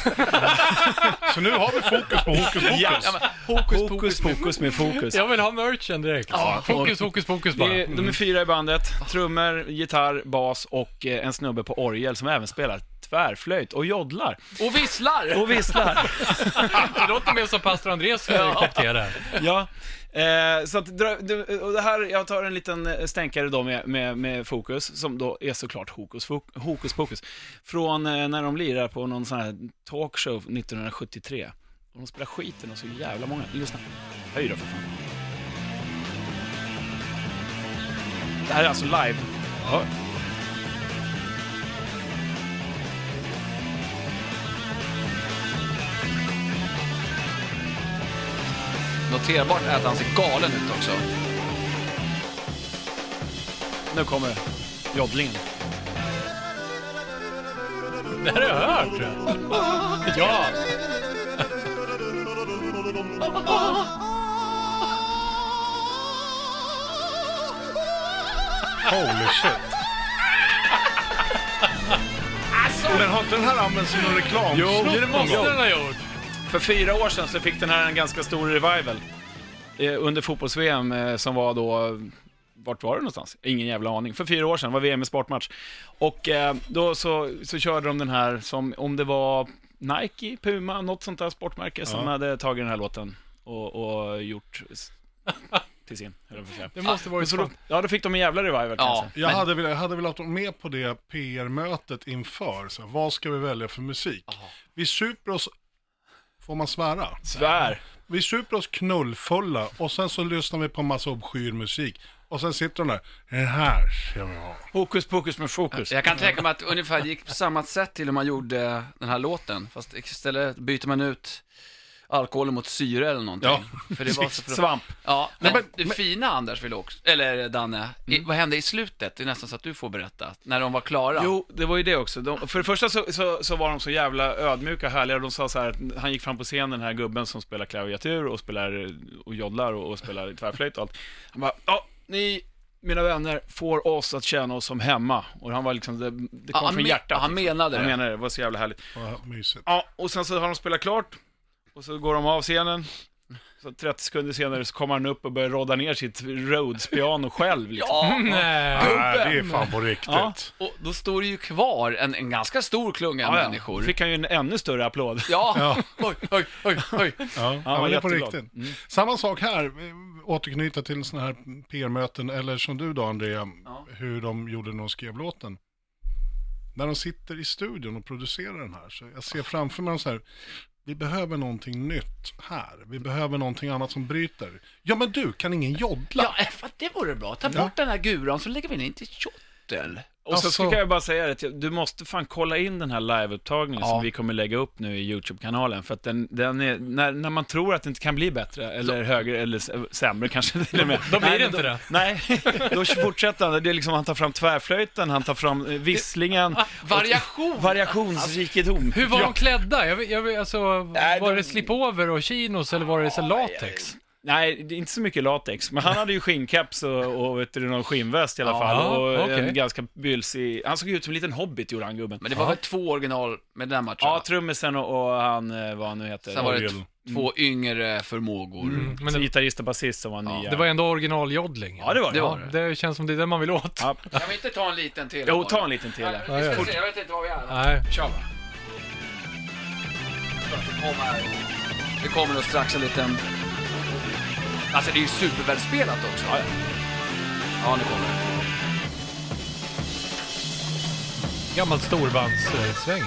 Så nu har vi fokus på hokus Ja, pokus. ja, men, hokus, pokus, pokus med fokus. Jag vill ha merchen direkt. Ja, fokus, fokus, fokus bara. Det är, de är fyra i bandet. Trummor, gitarr, bas och eh, en snubbe på orgel som även spelar tvärflöjt och joddlar. Och visslar! Och visslar. Det låter mer som pastor Andrés eh, kapten där. ja. Eh, så att, dra- du- och det här, jag tar en liten eh, stänkare då med, med, med Fokus, som då är såklart Hokus, Fok- hokus Pokus. Från eh, när de lirar på någon sån här talkshow 1973. Och de spelar skiten och så jävla många. Lyssna. Höj då för fan. Det här är alltså live. Ja. Noterbart är att han ser galen ut också. Nu kommer joddlingen. Det här har jag hört. Ja, Holy shit. Alltså! Men har inte den här använts i någon reklam? det måste den ha gjort. För fyra år sedan så fick den här en ganska stor revival. Eh, under fotbolls-VM eh, som var då... Vart var det någonstans? Ingen jävla aning. För fyra år sedan var VM i sportmatch. Och eh, då så, så körde de den här som om det var Nike, Puma, något sånt där sportmärke som Ja. hade tagit den här låten och, och gjort s- till sin. höll jag på att säga. Det måste varit Så då, fan. ja, då fick de en jävla revival kan jag Ja, säga. Jag men- hade, velat, jag hade velat vara med på det PR-mötet inför. Så här, vad ska vi välja för musik? Vi super oss, får man svära? Svär. Vi super oss knullfulla och sen så lyssnar vi på en massa obskyr musik. Och sen sitter de där, den här ska vi ha. Hokus pokus med fokus. Jag kan tänka mig att ungefär det gick på samma sätt till hur man gjorde den här låten. Fast istället byter man ut alkoholen mot syre eller någonting. Ja. För det var så för... Svamp. Ja, men, Nej, det fina Anders vill också, eller Danne, i, Mm. vad hände i slutet? Det är nästan så att du får berätta, när de var klara. Jo, det var ju det också. De, för det första så, så, så var de så jävla ödmjuka och härliga. De sa så här, att han gick fram på scenen, den här gubben som spelar klaviatur och spelar eh, och joddlar och, och spelar tvärflöjt och allt. Han bara, ja, ni, mina vänner, får oss att känna oss som hemma. Och han var liksom, det, det Ja, kom från han men- hjärtat. han liksom. menade Han det. menade det, det var så jävla härligt. Vad mysigt. Ja, och sen så har de spelat klart, och så går de av scenen. Så 30 sekunder senare så kommer han upp och börjar rodda ner sitt Rhodes-piano själv liksom. Ja, Ah, Nej. Nej, det är fan på riktigt. Ja. och då står det ju kvar en, en ganska stor klunga människor. Fick han ju en ännu större applåd. Ja, oj, oj, oj, oj. Ja, han ja var men det är på jätteglad. riktigt. Mm. Samma sak här, eh, återknyta till sådana här PR-möten, eller som du då Andrea, hur de gjorde när de skrev låten. När de sitter i studion och producerar den här, så jag ser framför mig dem så här, vi behöver någonting nytt här, vi behöver någonting annat som bryter. Ja men du, kan ingen joddla? Ja, eh, fan, det vore bra. Ta bort den här guran så lägger vi den till Tjottel. Och så Alltså- ska jag bara säga att jag- du måste fan kolla in den här liveupptagningen Ja. som vi kommer lägga upp nu i YouTube-kanalen. För att den, den är, när, när man tror att det inte kan bli bättre, eller högre, eller s- sämre kanske till och med. Då blir Nej, det men inte det. Nej, då fortsätter han. Det är liksom, han tar fram tvärflöjten, han tar fram eh, visslingen. Variation! Variationsrikedom. Ah, Hur var de klädda? Jag, vet- jag, vet- alltså, Nej, var de- det slipover och chinos eller var det så latex? Nej, det är inte så mycket latex, men han hade ju skinnkeps och, och vet du, någon skinnväst i alla Ja, fall. Och okej. en ganska bylsig... Han såg ut som en liten hobbit, gjorde han gubben. Men det var väl två original med den här matchen? Ja, trummisen och, och han, eh, vad han nu heter. Sen var det Orgel. två Mm. yngre förmågor. Mm, men Så det, Gitarrist och basist som var Ja. nya. det var ändå originaljoddling. Ja, det var det. Ja, det känns som det är det man vill åt. Ja. Kan vi inte ta en liten till? Jo, ta en liten till. Ja, här. vi ska Fort. se, jag vet inte var vi är. Nej. Kör va. Kom här. Det kommer nog strax en liten... Alltså det är ju supervälspelat också. Ja, nu kommer det. Gammalt storbandssväng.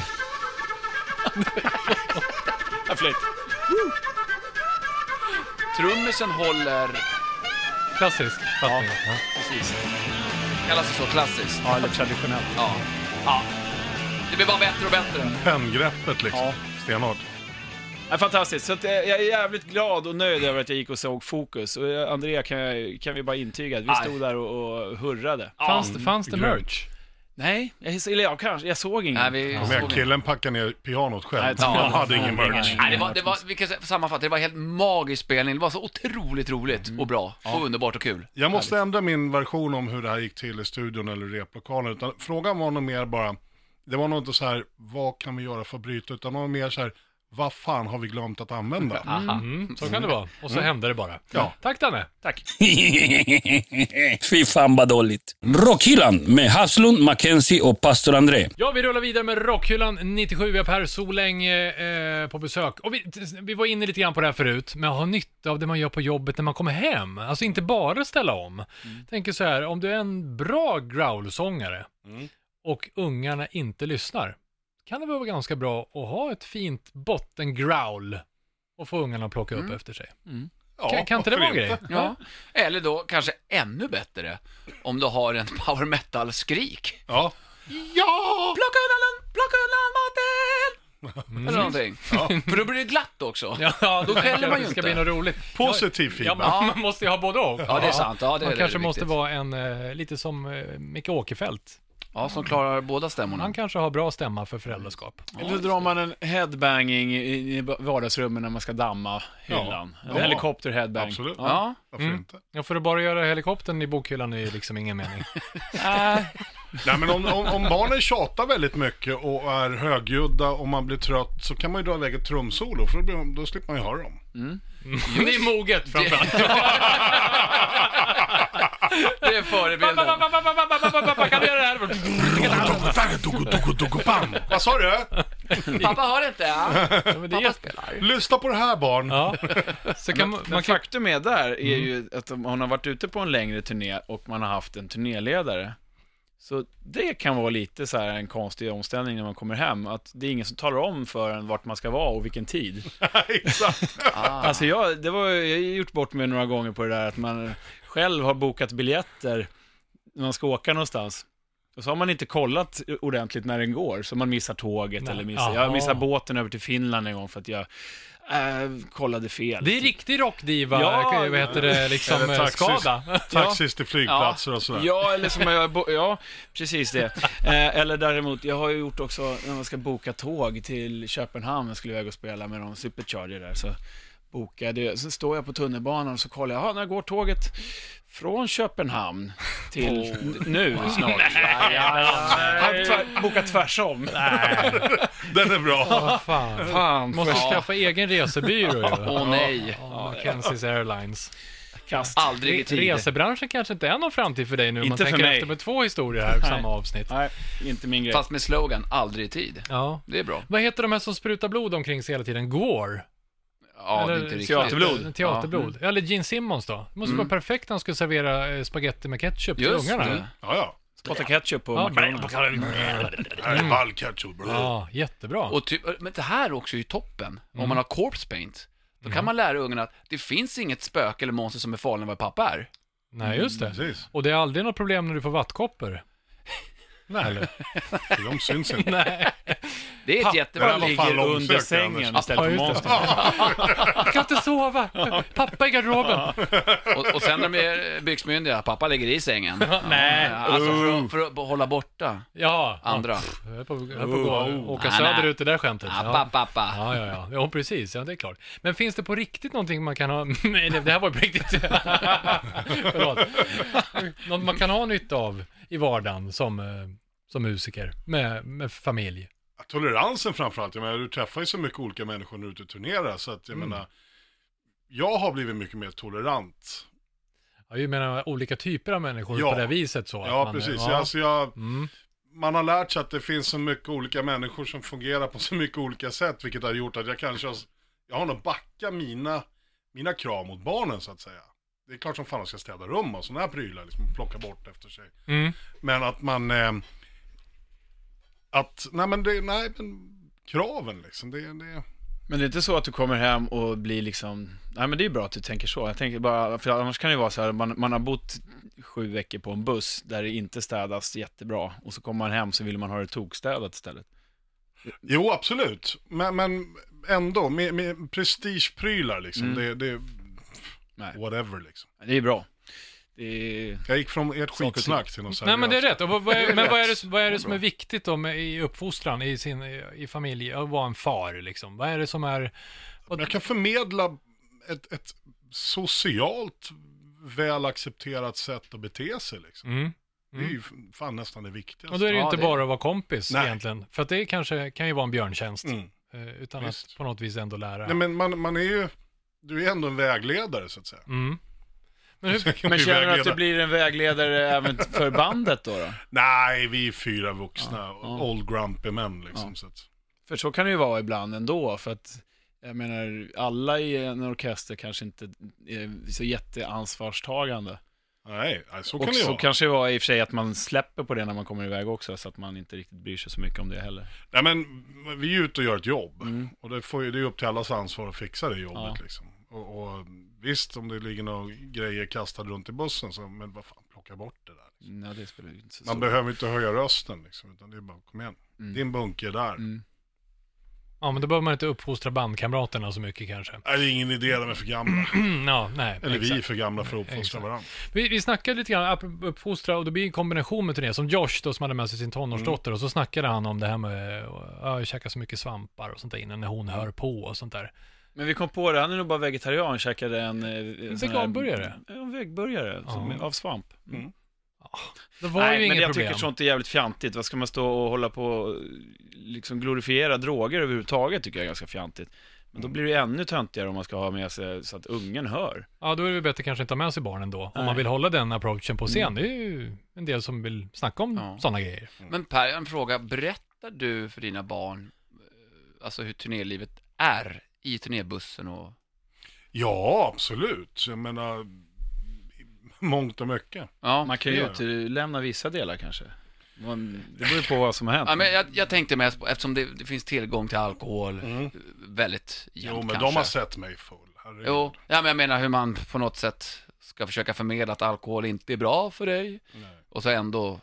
Ja, Flöjt. Trummisen håller... Klassisk fattning. Ja. Precis. Kallas det så? Klassiskt? Ja, eller traditionellt. Ja. ja. Det blir bara bättre och bättre. Penngreppet liksom. Ja. Stenhårt. Ja, fantastiskt. Så att, eh, jag är jävligt glad och nöjd över att jag gick och såg Fokus. Och eh, Andrea, kan, jag, kan vi bara intyga att vi Aj. stod där och, och hurrade. Fanns, det- fanns det grymt. merch? Nej, jag, eller jag kanske, jag såg inget. Nej, vi Kom igen, killen packar ner pianot själv. Nej, Han hade ingen merch. Nej, det var, det var, vi kan sammanfatta, det var en helt magisk spelning. Det var så otroligt roligt och bra och underbart och kul. Jag måste ändra min version om hur det här gick till i studion eller i replokalen. Utan frågan var nog mer bara, det var nog inte så här, vad kan vi göra för att bryta? Utan det var mer så här, vad fan har vi glömt att använda? Mm, så kan det vara. Och så hände det bara. Ja. Tack Danne. Fy fan vad dåligt. Rockhyllan med Haslund, Mackenzie och pastor André. Ja, vi rullar vidare med Rockhyllan 97. Vi har Per Soläng eh, eh, på besök. Och vi, t- vi var inne lite grann på det här förut, men ha nytta av det man gör på jobbet när man kommer hem. Alltså inte bara ställa om. Mm. Tänker så här, om du är en bra growlsångare Mm. och ungarna inte lyssnar, kan det väl vara ganska bra att ha ett fint bottengrowl och få ungarna att plocka Mm. upp efter sig. Ja, Kan, kan inte det vara varför en grej? Ja. Eller då kanske ännu bättre om du har en power metal-skrik. Ja, Ja! Plocka undan, den, plocka undan maten! Eller någonting. För då blir det glatt också. Ja, Mm. Ja, Då det skäller är klart man att ju Det ska inte. bli något roligt. positiv Ja, feedback. man, man måste ju ha både och. det är sant. Ja, det, Han det kanske är måste viktigt. vara en, eh, lite som eh, Micke Åkerfeldt. Ja, som klarar båda stämmorna. Han kanske har bra stämma för föräldraskap. Eller så drar man en headbanging i i vardagsrummet när man ska damma hyllan. Ja. En Ja. helikopter headbang. Absolut. Ja. Varför Mm. inte? Ja, för att bara göra helikoptern i bokhyllan är liksom ingen mening. Nej, men om, om, om barnen tjatar väldigt mycket och är högljudda och man blir trött så kan man ju dra iväg ett trumsolo för då, blir, då slipper man ju höra dem. det är moget framförallt. Det är förebilden. Kan du göra det här? Vad sa du? Pappa har det inte. Ja. Ja, men det är Pappa jätte- spelar. Lyssna på det här barn. Ja. Så kan man, Men man kan... Mm. faktum är där är ju att om hon har varit ute på en längre turné och man har haft en turnéledare. Så det kan vara lite så här en konstig omställning när man kommer hem. Att det är ingen som talar om för en vart man ska vara och vilken tid. Exakt. Alltså jag, det var, jag har gjort bort mig några gånger på det där att man själv har bokat biljetter när man ska åka någonstans. Och så har man inte kollat ordentligt när den går, så man missar tåget Nej. eller missar... Jag missade Jaha. båten över till Finland en gång för att jag äh, kollade fel. Det är riktig rockdiva, eh, Ja, vad heter det, liksom Eller eh, taxis. skada. Taxis till flygplatser och sådär. Ja, eller som jag... bo- Ja, precis det. Eh, eller däremot, jag har ju gjort också när man ska boka tåg till Köpenhamn, jag skulle iväg och spela med någon supercharger där, så bokade jag. Så står jag på tunnelbanan och så kollar jag, "Jaha, när går tåget från Köpenhamn till nu snart? Nej, jag tvär, boka tvärsom. Den är bra. Vad fan. Fan, Måste Ja. skaffa egen resebyrå ju. Åh nej. Ja, Mackenzies Airlines. kast. Aldrig i tid. Resebranschen kanske inte är någon framtid för dig nu. om Man Inte för tänker mig. efter med två historier här, samma avsnitt. Nej, inte min grej. Fast med slogan, aldrig i tid. Ja. Det är bra. Vad heter de här som sprutar blod omkring sig hela tiden? Gore? Ja, Mm. det är inte riktigt. teaterblod. Teaterblod. Eller Gene Simmons då. Det måste vara perfekt när han skulle servera eh, spaghetti med ketchup till Just ungarna. det. Ja, ja. Spotta ketchup på Ja. makaronerna. Det här är ball ketchup. Ja, jättebra. Och typ, men det här också är ju toppen. Om man har corpse paint, då kan man lära ungarna att det finns inget spöke eller monster som är farligare än vad pappa är. Nej, just det. Precis. Och det är aldrig något problem när du får vattkoppor. Nej. För de syns inte. Nej. Det är ett det jättebra där var ligg. fan Ligger under långsökt, sängen Anders. istället Ja, för just det. monster. Jag kan inte sova. Pappa i garderoben. Och, och sen när de är eh, byxmyndiga, pappa ligger i sängen. Nej. Alltså för, att- för att hålla borta Ja. andra. Jag är på, jag är på Oh. att gå, åka Nej, nej. söderut i det där skämtet. Ah, Ja. pappa, pappa. Ja, ja, ja. Ja, precis. Ja, det är klart. Men finns det på riktigt någonting man kan ha... Nej, det här var ju på riktigt. Förlåt. Något man kan ha nytta av i vardagen som, eh, som musiker med, med familj. Ja, Toleransen framförallt, jag menar du träffar ju så mycket olika människor när du är ute och turnerar så att jag Mm. menar, jag har blivit mycket mer tolerant. Ja, jag menar olika typer av människor Ja. på det viset så. att Ja, man- precis. Ja. Alltså, jag, Mm. man har lärt sig att det finns så mycket olika människor som fungerar på så mycket olika sätt, vilket har gjort att jag kanske har, jag har nog backat mina, mina krav mot barnen så att säga. Det är klart som fan de ska städa rum och sådana här prylar, liksom plocka bort efter sig. Mm. Men att man, eh, att, nej men det, nej men kraven liksom, det, det, Men det är inte så att du kommer hem och blir liksom, nej men det är bra att du tänker så. Jag tänker bara, för annars kan det ju vara så här, man, man har bott sju veckor på en buss där det inte städas jättebra och så kommer man hem så vill man ha det tokstädat istället. jo absolut, men, men ändå, med, med prestigeprylar liksom, Mm. det, det, Nej. whatever liksom. Men Det är bra. Det är, Jag gick från ert Saker och ting. skitsnack till något Nej, seriöst. men det är rätt. Och vad, vad är, men vad är det, vad är det som är viktigt då med, i uppfostran i, sin, i familj, att vara en far liksom? Vad är det som är... Men Jag kan förmedla ett, ett socialt väl accepterat sätt att bete sig liksom. Mm. Det är ju f- fan nästan det viktigaste. Och då är det ju Ja, inte det- bara att vara kompis Nej. egentligen. För att det kanske kan ju vara en björntjänst. Mm. eh, Utan att Visst. på något vis ändå lära. Nej men man, man är ju, du är ändå en vägledare så att säga. Mm. Men hur, Sen kan men man ju känner du att du vägleda. blir en vägledare även för bandet då? då? Nej, vi är fyra vuxna, ja. old grumpy män liksom. Ja. Så att... För så kan det ju vara ibland ändå, för att jag menar, alla i en orkester kanske inte är så jätteansvarstagande. Nej, nej, så kan Och det ju så vara. kanske det var i och för sig att man släpper på det när man kommer iväg också, så att man inte riktigt bryr sig så mycket om det heller. Nej men, vi är ju ute och gör ett jobb. Och det, får, ju- det är ju upp till allas ansvar att fixa det jobbet Mm. Ja. liksom. Och, och visst, om det ligger några grejer kastade runt i bussen, så, men vad fan, plocka bort det där. Nej, det spelar ju inte så Mm. Man behöver inte höja rösten liksom, utan det är bara, kom igen. Din bunker är där. ja, men då behöver man inte uppfostra bandkamraterna så mycket kanske. Nej, det är ingen idé, de är för gamla. ja, nej. Eller vi är exakt. för gamla för att uppfostra Exakt. varandra. Vi, vi snackade lite grann, apropå uppfostra, och det blir en kombination med turné. Som Josh då, som hade med sig sin tonårsdotter, och så snackade han om det här med att äh, käka så mycket svampar och sånt där innan när hon hör på och sånt där. Men vi kom på det, han är nog bara vegetarian, käkade en... eh, en sån här- veganburgare. Ja, en veggburgare som- Ja. av svamp. Mm. Det var Nej, ju men inget jag problem. tycker sånt är jävligt fjantigt. Vad ska man stå och hålla på och liksom glorifiera droger överhuvudtaget, tycker jag är ganska fjantigt. Men då blir det ännu töntigare om man ska ha med sig så att ungen hör. Ja, då är det väl bättre kanske inte ha med sig barnen då. Om Nej. man vill hålla den approachen på scen. Det är ju en del som vill snacka om Ja. sådana grejer. Men Per, jag har en fråga. Berättar du för dina barn, eh, alltså hur turnélivet är i turnébussen och... Ja, absolut. Jag menar, mångt och mycket. Ja, Man kan ju det gör utelämna vissa delar kanske. Man, det beror ju på vad som har hänt. ja men jag, jag tänkte mest på, eftersom det, det finns tillgång till alkohol eh, väldigt jämt Jo, men kanske. de har sett mig full. Herregud. Jo, ja, men jag menar hur man på något sätt ska försöka förmedla att alkohol inte är bra för dig. Och så ändå,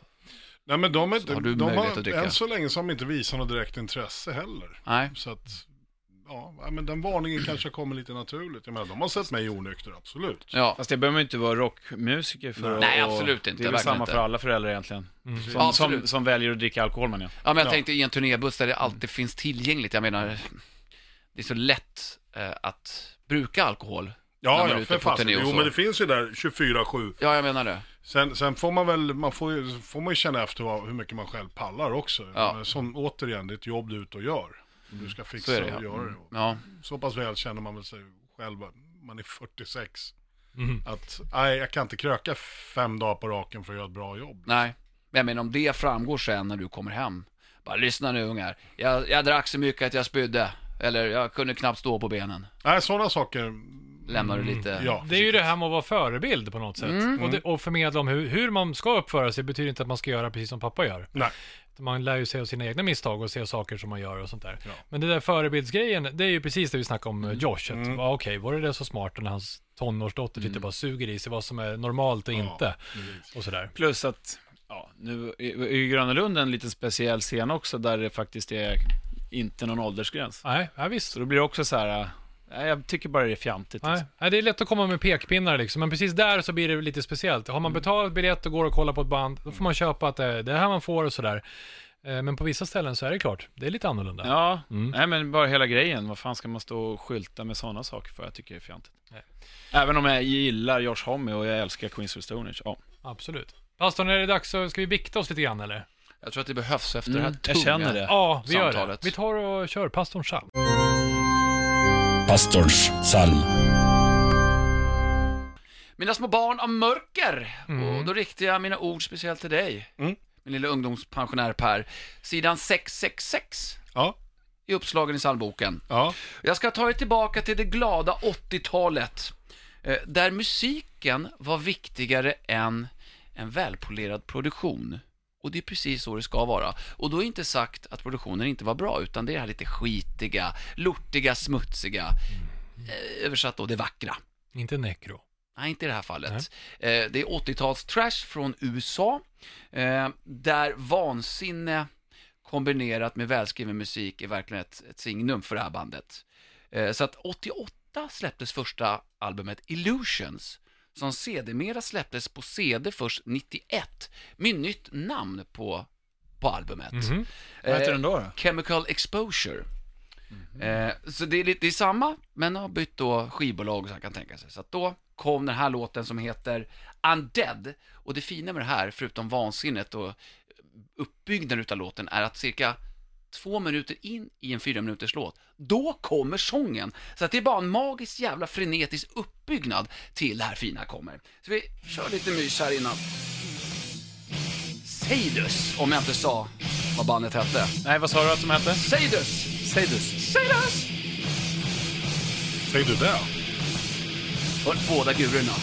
Nej, men de, är, Så har de, du de möjlighet att har, dricka. än så länge så har de inte visat något direkt intresse heller. nej. Så att, ja, ja, men den varningen kanske kommer lite naturligt. Jag menar, de har sett mig onykter, absolut. Ja. Fast det behöver man ju inte vara rockmusiker för Nej, att- absolut inte, Det är väl verkligen samma inte. Mm. för alla föräldrar egentligen. Som, Ja, absolut. som, som väljer att dricka alkohol men ja. ja, men jag Ja. Mm. tänkte i en turnébuss där det alltid finns tillgängligt. Jag menar, det är så lätt eh, att bruka alkohol. när Ja, man är ja ute för på fasen. turné och Jo, så. men det finns ju där 24-7. Ja, jag menar det. Sen, sen får man väl, man får, ju- får man ju känna efter vad, hur mycket man själv pallar också. Ja. Men Som återigen, det är ett jobb du är ute och gör. Du ska fixa Så är det ja. och göra Liksom, det. Mm. Ja, Så pass väl känner man väl sig själv, man är 46. Mm. Att, nej, jag kan inte kröka fem dagar på raken för att göra ett bra jobb. nej. Men jag menar om det framgår sen när du kommer hem. Bara lyssna nu ungar. Jag, jag drack så mycket att jag spydde. Eller jag kunde knappt stå på benen. Nej, sådana saker, Lämnar du lite... Mm, ja. Det är ju det här med att vara förebild på något sätt. Och, det, och förmedla om hur, hur man ska uppföra sig betyder inte att man ska göra precis som pappa gör. Nej. Man lär ju sig av sina egna misstag och se saker som man gör och sånt där. Men det där förebildsgrejen, det är ju precis det vi snackade om mm. Mm. Josh. Att, ja, Okej, var det där så smart när hans tonårsdotter sitter och bara suger i sig vad som är normalt och inte? Och sådär. Plus att, ja, nu är är ju Gröna Lund en lite speciell scen också där det faktiskt är inte någon åldersgräns. Nej, ja, visst. Så då blir det också så här, äh, nej, jag tycker bara det är fjantigt. Nej, alltså. nej, det är lätt att komma med pekpinnar liksom, men precis där så blir det lite speciellt. Har Mm. man betalat biljett och går och kollar på ett band, då får man köpa att det det är här man får och sådär. Eh, Men på vissa ställen så är det klart, det är lite annorlunda. Ja, Mm. nej men bara hela grejen. Vad fan ska man stå och skylta med sådana saker för? Jag tycker det är fjantigt. Nej. Även om jag gillar Josh Homme och jag älskar Queens of the Stone Age. Ja. Absolut. Pastorn, är det dags så ska vi bikta oss lite grann eller? Jag tror att det behövs efter det Mm, här tunga. jag känner det. Ja, vi gör det. Samtalet. Vi tar och kör pastorns psalm. Pastors psalm. Mina små barn av mörker. Mm. Och då riktar jag mina ord speciellt till dig. Mm. Min lilla ungdomspensionär Per. Sidan 666 Ja, i uppslagen i psalmboken. ja. Jag ska ta er tillbaka till det glada 80-talet. eh, Där musiken var viktigare än en välpolerad produktion. Och det är precis så det ska vara. Och då är inte sagt att produktionen inte var bra, utan det är det här lite skitiga, lortiga, smutsiga. eh, Översatt då, det vackra. Inte nekro. Nej, inte i det här fallet. Eh, det är 80-tals-trash från USA, eh, där vansinne kombinerat med välskriven musik är verkligen ett, ett signum för det här bandet. Eh, så att 88 släpptes första albumet Illusions, som sedermera släpptes på CD först 91, med nytt namn på, på albumet. Mhm. Vad heter Eh, den då? då? Chemical Exposure. Eh, så det är, lite, det är samma, men har bytt då skivbolag så han kan tänka sig. Så att då kom den här låten som heter Undead. Och det fina med det här, förutom vansinnet och uppbyggnaden utav låten, är att cirka två minuter in i en fyra minuters låt, då kommer sången. Så att det är bara en magisk jävla frenetisk uppbyggnad till det här fina kommer. Så vi kör lite mys här innan. Seidus, om jag inte sa vad bandet hette. Nej, vad sa du att de hette? Seidus! Seidus. Seidus! Säger du det? Hör båda gurorna.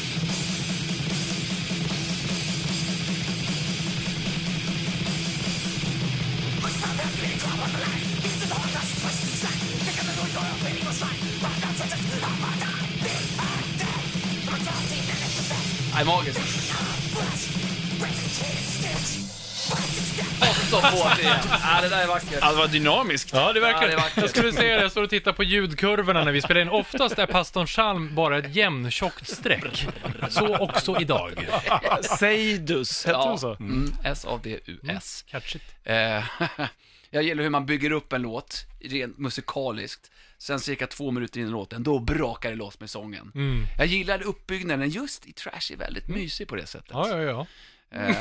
Nej, magiskt. Och så får vi igen. Ja, det där är vackert. Ja, det var dynamiskt. Ja, det Ja, det är Jag vackert. skulle säga det, jag står och tittar på ljudkurvorna när vi spelar in. Oftast är pastorns psalm bara ett jämntjockt streck. Så också idag. Seidus, hette Ja. de så? Mm, S-A-D-U-S. Catchigt. Eh, jag gillar hur man bygger upp en låt, rent musikaliskt. Sen cirka två minuter in i låten, då brakar det loss med sången. Mm. Jag gillade uppbyggnaden just i Trash är väldigt mysig på det sättet. Ja, ja, ja. Eh,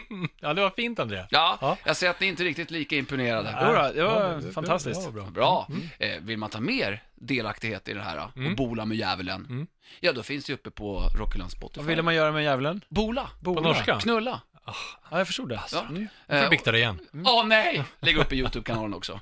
Ja, det var fint Andrea. ja, Ja. jag ser att ni inte är riktigt lika imponerade. Jo då, det var Ja, Mm. fantastiskt. det var bra. Bra. Eh, vill man ta mer delaktighet i det här då, Mm. och bola med djävulen, ja då finns det ju uppe på Rockyland Spotify. Vad ville man göra med djävulen? Bola, På norska? knulla. Ja, jag förstod det. Ja. Mm. Jag Eh, fick det igen. och- Åh nej! Lägg upp i YouTube-kanalen också.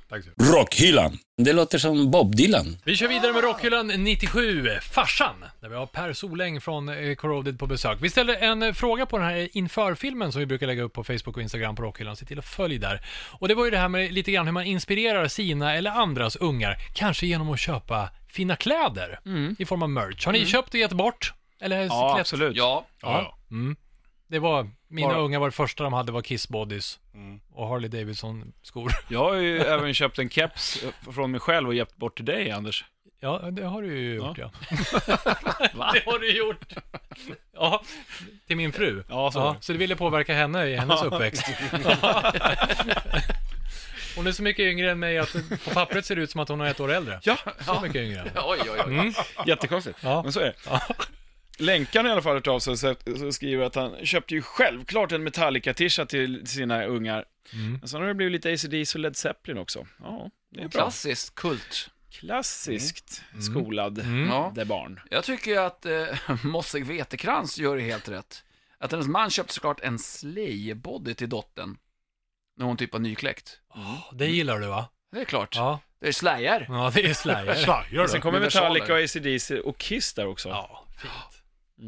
Rockhyllan. Det låter som Bob Dylan. Vi kör vidare med Rockhyllan 97, Farsan, där vi har Per Soläng från eh, Corroded på besök. Vi ställer en eh, fråga på den här införfilmen som vi brukar lägga upp på Facebook och Instagram på Rockhyllan, se till att följa där. Och det var ju det här med lite grann hur man inspirerar sina eller andras ungar, kanske genom att köpa fina kläder i form av merch. Har ni köpt och gett bort? Eller Ja, klätt- absolut. Ja, Ja, ja. Det var, mina Bara- Mm. ungar var det första de hade var Kiss Bodies och Harley Davidson-skor. Jag har ju även köpt en keps från mig själv och gett bort till dig, Anders. Ja, det har du ju gjort ja. det har du gjort. Ja, till min fru. Ja, så var det. så du ville påverka henne i hennes uppväxt. hon är så mycket yngre än mig att på pappret ser det ut som att hon är ett år äldre. Ja, Så mycket yngre. oj oj oj. Mm. jättekonstigt. Ja. Men så är det. Länkan i alla fall har hört av sig så så skriver att han köpte ju självklart en Metallica-tisha till sina ungar. Men sen har det blivit lite ACDC och Led Zeppelin också. Ja, det är bra. Klassiskt kult. Klassiskt skolad Ja. där barn. Jag tycker ju att eh, Mosse Vetekrans gör det helt rätt. Att hennes man köpte såklart en slay-body till dottern. När hon typ var nykläckt. Ja, Det gillar du va? Det är klart. Ja, Det är slayer. ja det är slayer. Slajar Sen du? kommer Universaler. Metallica och ACDC och Kiss där också. Ja, fint.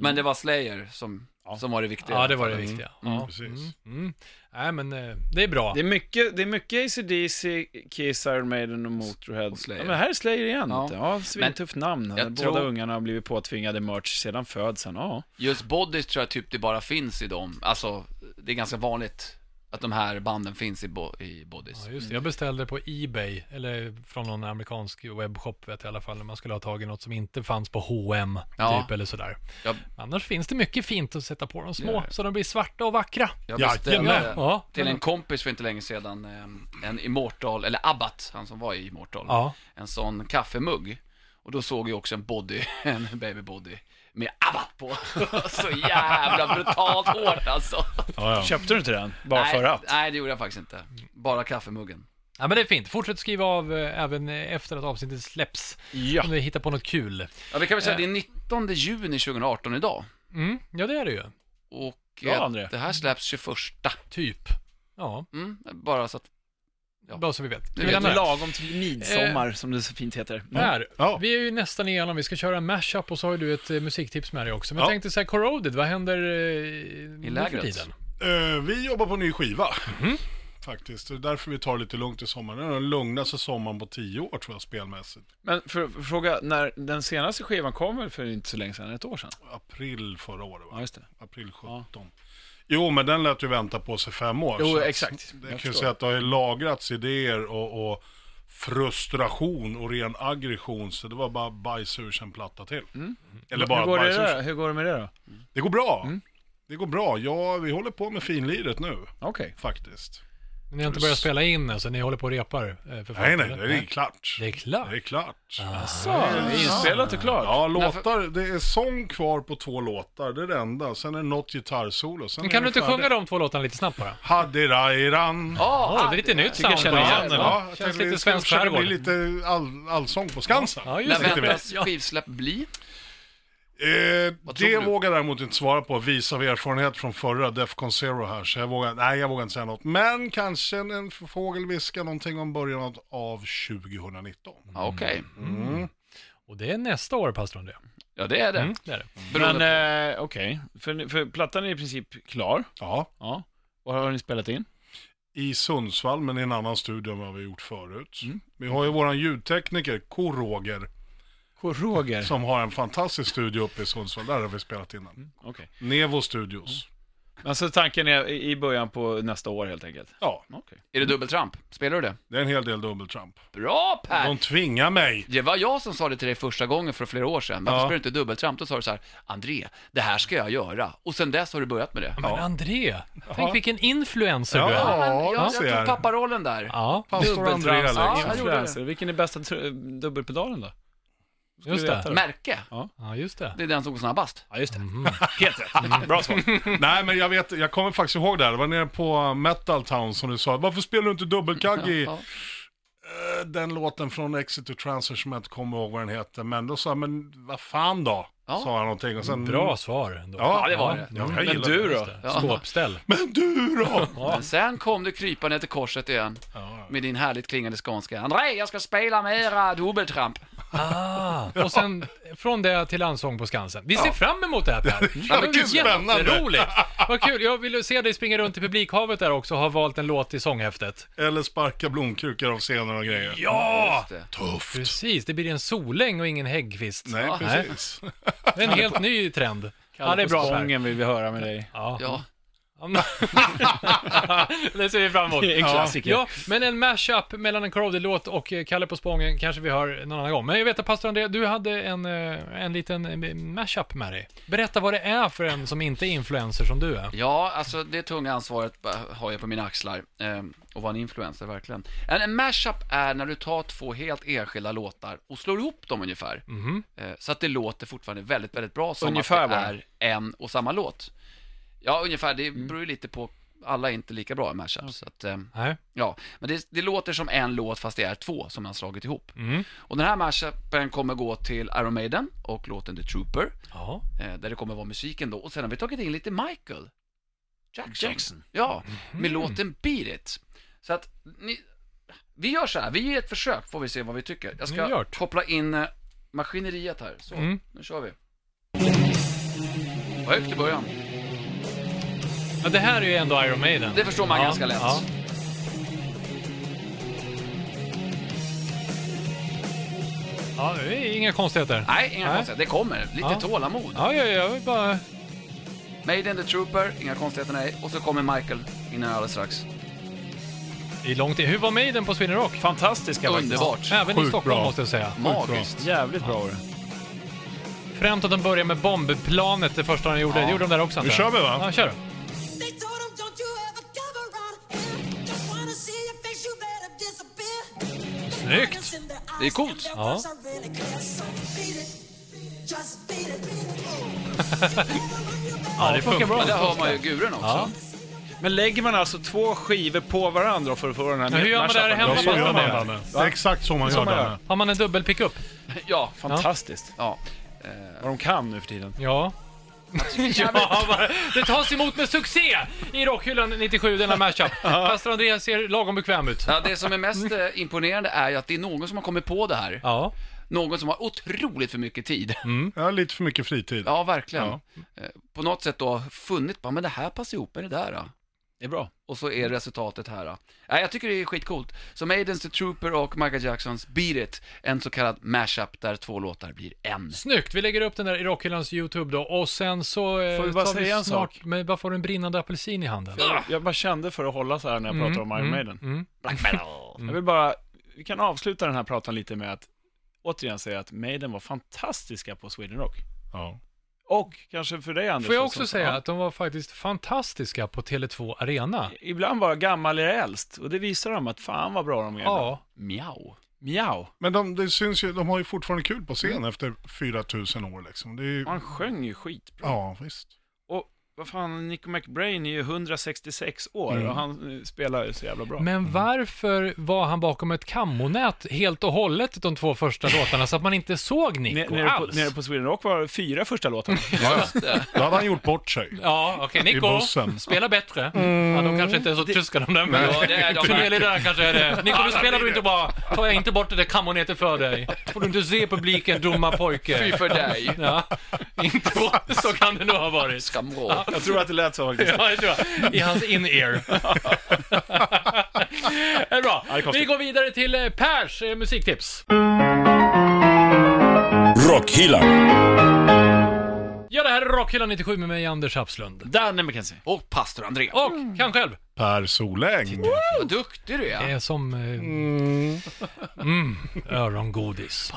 Men det var slayer som, som var det viktiga. Mm. Ja, det var det viktiga. Ja, precis. mm, mm. Nej, men eh, det är bra. Det är mycket, det är mycket ACDC, Kiss, Iron Maiden och Motörhead. Och Slayer. ja, men här är Slayer igen. Ja. Ja, ja svintufft namn. jag Båda tror- ungarna har blivit påtvingade merch sedan födseln. Ja. Just bodies tror jag typ det bara finns i dem. Alltså, det är ganska vanligt att de här banden finns i, bo- i bodies. Ja, just det. Jag beställde på Ebay, eller från någon amerikansk webbshop vet jag i alla fall, när man skulle ha tagit något som inte fanns på H&M Ja. typ eller sådär. Jag, Annars finns det mycket fint att sätta på de små, Ja, ja. så de blir svarta och vackra. jag Ja, beställde jävlar. Ja. till en kompis för inte länge sedan eh, en Immortal, eller Abbat, han som var i Immortal. Ja. en sån kaffemugg. Och då såg jag också en body, en baby body med ABBA på. så jävla brutalt hårt alltså. Ja, ja. Köpte du inte den? Bara nej, för att? Nej, det gjorde jag faktiskt inte. Bara kaffemuggen. ja, men det är fint. Fortsätt skriva av eh, även eh, efter att avsnittet släpps. Ja. Om ni hittar på något kul. Ja, vi kan Eh. väl säga att det är 19 juni 2018 idag. Mm, ja, det är det ju. Och Bra, eh, André. det här släpps 21. Typ. Ja, Mm, bara så att... Ja. bara så vi vet. Det Vi vet lämnar vi. det. Lagom till midsommar, som det så fint heter. Mm. Per, Ja. vi är ju nästan igenom. Vi ska köra en mashup och så har ju du ett eh, musiktips med dig också. Men Ja. jag tänkte så här, Corroded, vad händer I nu för lägret. tiden? Mm. Eh, vi jobbar på en ny skiva. Mhm. Faktiskt, det är därför vi tar det lite lugnt i sommar. Det är den lugnaste sommaren på tio år tror jag spelmässigt. Men för, för fråga, när den senaste skivan kom väl för inte så länge sedan, ett år sedan? April förra året va? Ja, just det. April 17. Jo, men den lät ju vänta på sig fem år. Jo, så att exakt. Det Jag kan ju förstår. säga att det har ju lagrats idéer och, och frustration och ren aggression. Så det var bara bajs ur sig en platta till. Mm. Eller bara Hur går, det bajs ur sig. där? Hur går det med det då? Det går bra. Mm. Det går bra. Ja, vi håller på med finliret nu Okej. faktiskt. Ni har inte börjat spela in än, så ni håller på och repar eh, för fullt, Nej, nej, eller? det är klart. Det är klart. Det är klart. Så, det är inspelat och klart. Ja, låtar. Det är sång kvar på två låtar. Det är det enda. Sen är det något gitarrsolo. Sen Men är kan det du inte färdigt. sjunga de två låtarna lite snabbt bara? Hadirairan. Åh, det är lite nytt tycker jag sound. känner igen den. Ja, känns jag tänkte lite det skulle svensk försöka skärgård. bli lite all, allsång på Skansen. Ja, När just det. väntas Ja. skivsläpp bli? Eh, Vad tror det du? vågar jag däremot inte svara på, vis av erfarenhet från förra Defcon Zero här. Så jag vågar, nej, jag vågar inte säga något. Men kanske en, en fågel viskar någonting om början av 2019. Ja, okej. Mm. Mm. Och det är nästa år, pastor André. Ja, det är det. Mm, det är det. Men Beroende eh, okej, för, för plattan är i princip klar. Ja, Ja. Och har ni spelat in? i Sundsvall, men i en annan studio än vad vi gjort förut. Mm. Vi har ju våran ljudtekniker, K. Roger, Roger. som har en fantastisk studio uppe i Sundsvall. Där har vi spelat in Mm. den. Okej. Nevo Studios. Men så tanken är i i början på nästa år helt enkelt? Ja, Okej. eh, på, är det dubbeltramp? Spelar du det? det är en hel del dubbeltramp. Bra Per! De tvingar mig. Det var jag som sa det till dig första gången för flera år sedan. Varför Ja. spelar du inte dubbeltramp? Då sa du så här, André, det här ska jag göra. Och sen dess har du börjat med det. Men André, tänk vilken influencer du är. Ja. men jag, ser. jag tog papparollen där. Ja, Pastor André Dubbeltrams. Ja, jag Alex. gjorde Influencer. Vilken är bästa tr- dubbelpedalen då? Skulle Just vi veta det. Märke, ja just det. det är den som går snabbast. Ja, just det. Helt rätt. Bra svar. Mm. Nej, men jag vet, jag kommer faktiskt ihåg det här. Det var nere på eh, Metal Town som du sa, varför spelar du inte dubbelkagg i Ja. eh, den låten från Exit to Transfer som jag inte kommer ihåg vad den heter. Men då sa jag, men vad fan då? Ja. Sa jag någonting och sen... Bra svar ändå. Ja, det var det. Ja, jag Men gillar du det. då? Ja. Skåpställ. Men du då? Men sen kom du krypande till korset igen Ja. med din härligt klingande skånska. André, jag ska spela mera dubbeltramp. Ah, och sen från det till Allsång på Skansen. Vi ser fram emot det här Per. Ja, men gud, spännande. Jätteroligt. Vad kul. Jag vill se dig springa runt i publikhavet där också och ha valt en låt i sånghäftet. Eller sparka blomkrukor av scener och grejer. Ja! det. Tufft. Precis, det blir en soläng och ingen häggkvist. Nej, precis. Det är en helt ny trend. Ja, det är bra Per. Sången vill vi höra med dig. Ja. Ja, det ser vi fram emot. Det är en klassiker. Ja, men en mashup mellan en Corroded-låt och eh, Kalle på Spången kanske vi hör någon annan gång. Men jag vet att pastor André, du hade en, eh, en liten eh, mashup med dig. Berätta vad det är för en som inte är influencer som du är. Ja, alltså det tunga ansvaret ba- har jag på mina axlar. Eh, och vara en influencer, verkligen. En, en mashup är när du tar två helt enskilda låtar och slår ihop dem ungefär. Mhm. Eh, så att det låter fortfarande väldigt, väldigt bra som Ungefär att det bara. Mm. är en och samma låt. Ja, ungefär. Det beror ju lite på. Alla är inte lika bra i mashups. Så att, eh, Nej. Ja, men det, det låter som en låt fast det är två som man slagit ihop. Mm. Och den här mashupen kommer gå till Iron Maiden och låten The Trooper, Ja. eh, där det kommer vara musiken då. Och sen har vi tagit in lite Michael Jackson. Jackson. Ja, Mhm. med låten Beat It. Så att ni, vi gör så här, vi ger ett försök får vi se vad vi tycker. Jag Ni gör ska det. koppla in eh, maskineriet här. Så, Mm. nu kör vi. Vad högt i början. ja, det här är ju ändå Iron Maiden. Det förstår man ja. ganska lätt. Ja. ja, det är inga konstigheter. Nej, inga Nej. konstigheter. Det kommer. Lite Ja. tålamod. Ja, ja, jag vill bara... Maiden the Trooper, inga konstigheter nej. Och så kommer Michael innan alldeles strax. I lång tid. Hur var Maiden på Sweden Rock? Fantastiska faktiskt. Underbart. Även i Sjukt Stockholm bra. måste jag säga. Magiskt. Jävligt bra var det. Främt att de börjar med bombplanet det första de gjorde. Det gjorde de där också. Nu antar jag. kör vi, va? Ja, kör. They told him, don't you ever come around here. Just wanna see your face, you better disappear. Snyggt! In their Det är eyes coolt. and their Ja. words are really clear, so beat it. Just beat it. Beat it. Oh. Ja, det funkar bra. Där har man ju guren också. Ja. Men lägger man alltså två skivor på varandra för att få den här Men hur gör man det här mashupen? Ja, hemma? så gör man, Ja. Danne. Det är exakt så man Så gör, man gör. Danne. Har man en dubbel pickup? Ja, fantastiskt. Ja. Vad de kan nu för tiden. Ja. ja, va- det tas emot med succé i Rockhyllan 97, denna mashup. Pastor Andreas ser lagom bekväm ut. Ja, det som är mest eh, imponerande är ju att det är någon som har kommit på det här. Ja, Någon som har otroligt för mycket tid. Jag har lite för mycket fritid. Ja, verkligen. Eh, På något sätt då funnit, bara, men det här passar ihop med det där. Då. Det är bra. Och så är resultatet här. Då. Nej, jag tycker det är skitcoolt. Så Maidens The Trooper och Michael Jacksons Beat It, en så kallad mashup där två låtar blir en. snyggt. Vi lägger upp den där i Rockhyllans YouTube då och sen så... eh, Får vi bara tar säga en snart- sak? Men varför har du en brinnande apelsin i handen? Jag, jag bara kände för att hålla så här när jag pratar om Iron Maiden. mm. Black metal. Jag vill bara, vi kan avsluta den här pratan lite med att återigen säga att Maiden var fantastiska på Sweden Rock. Ja. Och kanske för dig Anders. Får jag som- också som- säga ja, att de var faktiskt fantastiska på Tele2 Arena. Ibland bara gammal eller äldst. Och det visar de att fan vad bra de är. Ja, Miau. Miau. Men de, det syns ju, de har ju fortfarande kul på scen efter 4000 år liksom. Det är ju, Han sjöng ju skitbra. ja, visst. Och vad fan, Nico McBrain är ju 166 år och han eh, spelar ju så jävla bra. men varför var han bakom ett kammonät helt och hållet de två första låtarna så att man inte såg N- Nico nere, på, alls? nere på Sweden Rock var det fyra första låtarna. Ja, ja. Då hade han gjort bort sig. Ja, okej, I Nico, bussen. spela bättre. Mm. Ja, de kanske inte är så tyska de där, men... Ja, det är de Cornelia verkligen. där kanske är det. Nico, du spelar du inte bra. Tar jag inte bort det där kammonetet för dig. Får du inte se publiken, dumma pojke. Fy för dig. Ja, inte bra. Så kan det nog ha varit. Skamrå. Jag tror att det lät så faktiskt. Ja, det tror jag. I hans in-ear. det är bra. Ja, det är konstigt. Vi går vidare till eh, Pers eh, musiktips. Rockhyllan. Ja, det här är Rockhyllan 97 med mig, Anders Hapslund. Danne McKenzie. Och pastor André. Och kan själv. Per Soläng. Vad duktig du Det är. är som... eh, Mm, örongodis.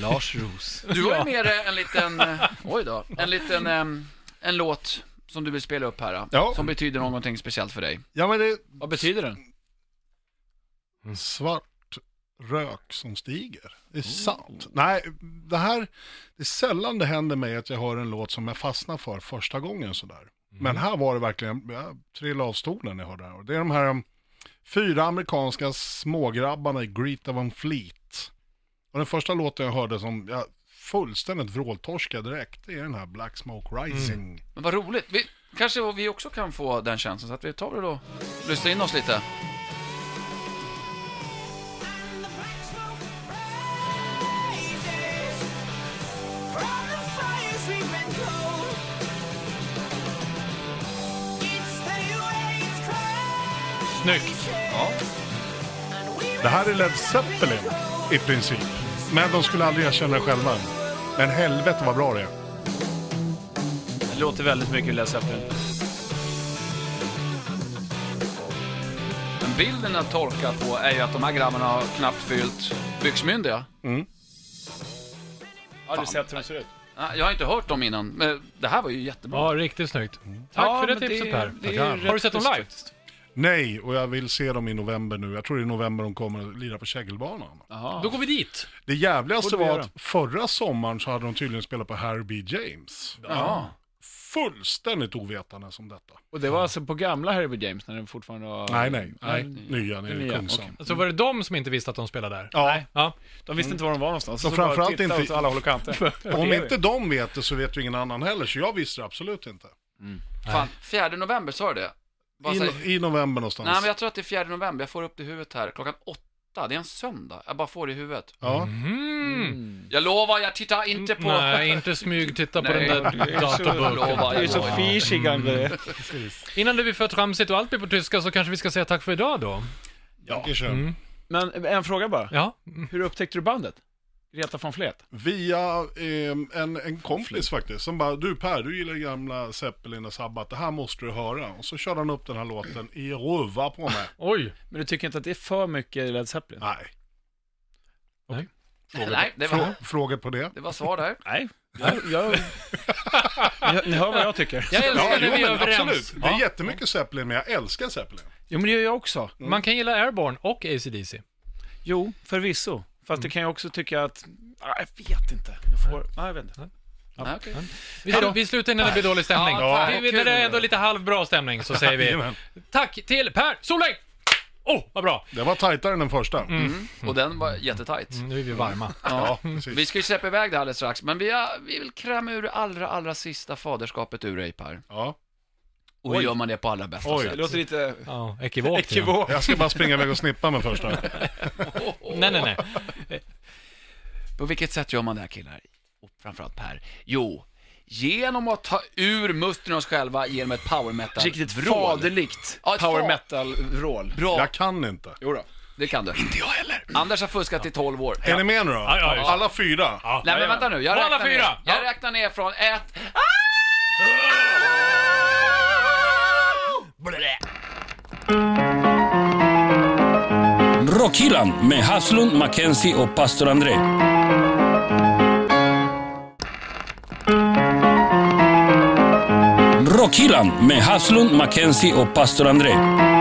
Lars Roos. Du har ju med dig en liten, eh, oj då, en liten, em, en låt som du vill spela upp här. eh, Ja. Som betyder någonting speciellt för dig. Ja, men det Vad betyder den? är svart rök som stiger. Det är sant. Nej, det här, det är sällan det händer mig att jag hör en låt som jag fastnar för första gången sådär. Men här var det verkligen, jag trillade av stolen när jag hörde det här. Och Det är de här em, fyra amerikanska smågrabbarna i Greta Van Fleet. Och den första låten jag hörde som jag fullständigt vråltorskade direkt, det är den här Black Smoke Rising. Men vad roligt. Vi, kanske vi också kan få den chansen, så att vi tar det då. Lyssna in oss lite. Snyggt. Det här är Led Zeppelin i princip. Men de skulle aldrig erkänna det själva. Men helvete vad bra det är. Det låter väldigt mycket Led Zeppelin. Men bilden att torka på är ju att de här grabbarna har knappt fyllt byxmyndiga. Har du sett hur de ser ut? Nej, Jag har inte hört dem innan, men det här var ju jättebra. Ja, riktigt snyggt. Tack Ja, för det men tipset, det- Per. det är ju Tackar. Har du rätt sett dem live? schysst. Nej, och jag vill se dem i november nu. Jag tror det är i november de kommer att lira på Kägelbanan. Då går vi dit. Det jävligaste Borde vi var göra. att förra sommaren så hade de tydligen spelat på Harry B. James. Ja. Fullständigt ovetande som detta. Och det var alltså på gamla Herbie James när den fortfarande var... Nej, nej, nej. Nej. Nya nere i Nya, Kungsan. okej. Alltså var det de som inte visste att de spelade där? Ja. Ja. De visste inte var de var någonstans. Och så bara framförallt tittade inte- åt alla håll och kanter. Om inte de vet det så vet ju ingen annan heller, så jag visste det absolut inte. Fan, 4 november, sa du det? Vad I, säger- no- i november någonstans. Nej, men jag tror att det är 4 november. Jag får upp det i huvudet här. Klockan åtta. Det är en söndag. Jag bara får det i huvudet. Ja. Mm. Jag lovar, jag tittar inte på... Mm, Nej, inte smyg titta på Nej, den det där är så- datorburken. Det är ju så Mm. fishy André. Innan det blir för tramsigt och allt blir på tyska så kanske vi ska säga tack för idag då. Ja. Mm. Mm. Men en fråga bara. Ja, Hur upptäckte du bandet? Greta von Flet? Via eh, en, en kompis faktiskt, som bara, du Per, du gillar gamla Zeppelin och Sabbath, det här måste du höra. Och så körde han upp den här låten i ruva på mig. oj. Men du tycker inte att det är för mycket Led Zeppelin? Nej. Nej. Frågor, Nej, det var- frå, frågor på det? Det var svar där. Nej. Jag, jag... Ni- Ni hör vad jag tycker. Jag älskar när vi är men överens. Det är Ja. jättemycket Zeppelin, men jag älskar Zeppelin. Jo, men det gör jag också. Man kan gilla Airborne och ACDC. Mm. Jo, förvisso. Fast det kan jag också tycka att... Ah, jag vet inte. Jag får... Nej, jag vet inte. Nej, okej. Vi, sl- vi slutar innan det blir dålig stämning. Ja, tack. vi, vi, när det är ändå lite halvbra stämning så säger vi Jajamän. tack till Per Solveig! Åh, oh, vad bra! Det var tajtare än den första. Mm. Mm. Och den var jättetajt. Mm, Nu är vi varma. Ja, precis. Vi ska ju släppa iväg det alldeles strax, men vi, har, vi vill kräma ur det allra, allra sista faderskapet ur dig Per. Ja. Och hur gör man det på allra bästa Oj. Det sätt? låter lite Ja, ekivokt. redan. ekivok. Jag ska bara springa iväg och snippa mig först. då. Nej, nej, nej. På vilket sätt gör man det här killar? Och framförallt Per. Jo, genom att ta ur musten oss själva genom ett power metal Riktigt vrål. faderligt Ja, ett fa- power metal-vrål. Bra, Jag kan inte. Jo då. det kan du. Inte jag heller. Anders har fuskat i 12 år. Är ni med nu då? ja, just det. Alla fyra? Nej men vänta nu, jag På alla räknar ner. fyra. Jag Ja. räknar ner från ett... Rockhyllan med Haslund, Mackenzie och pastor André. Rockhyllan med Haslund, Mackenzie och pastor André.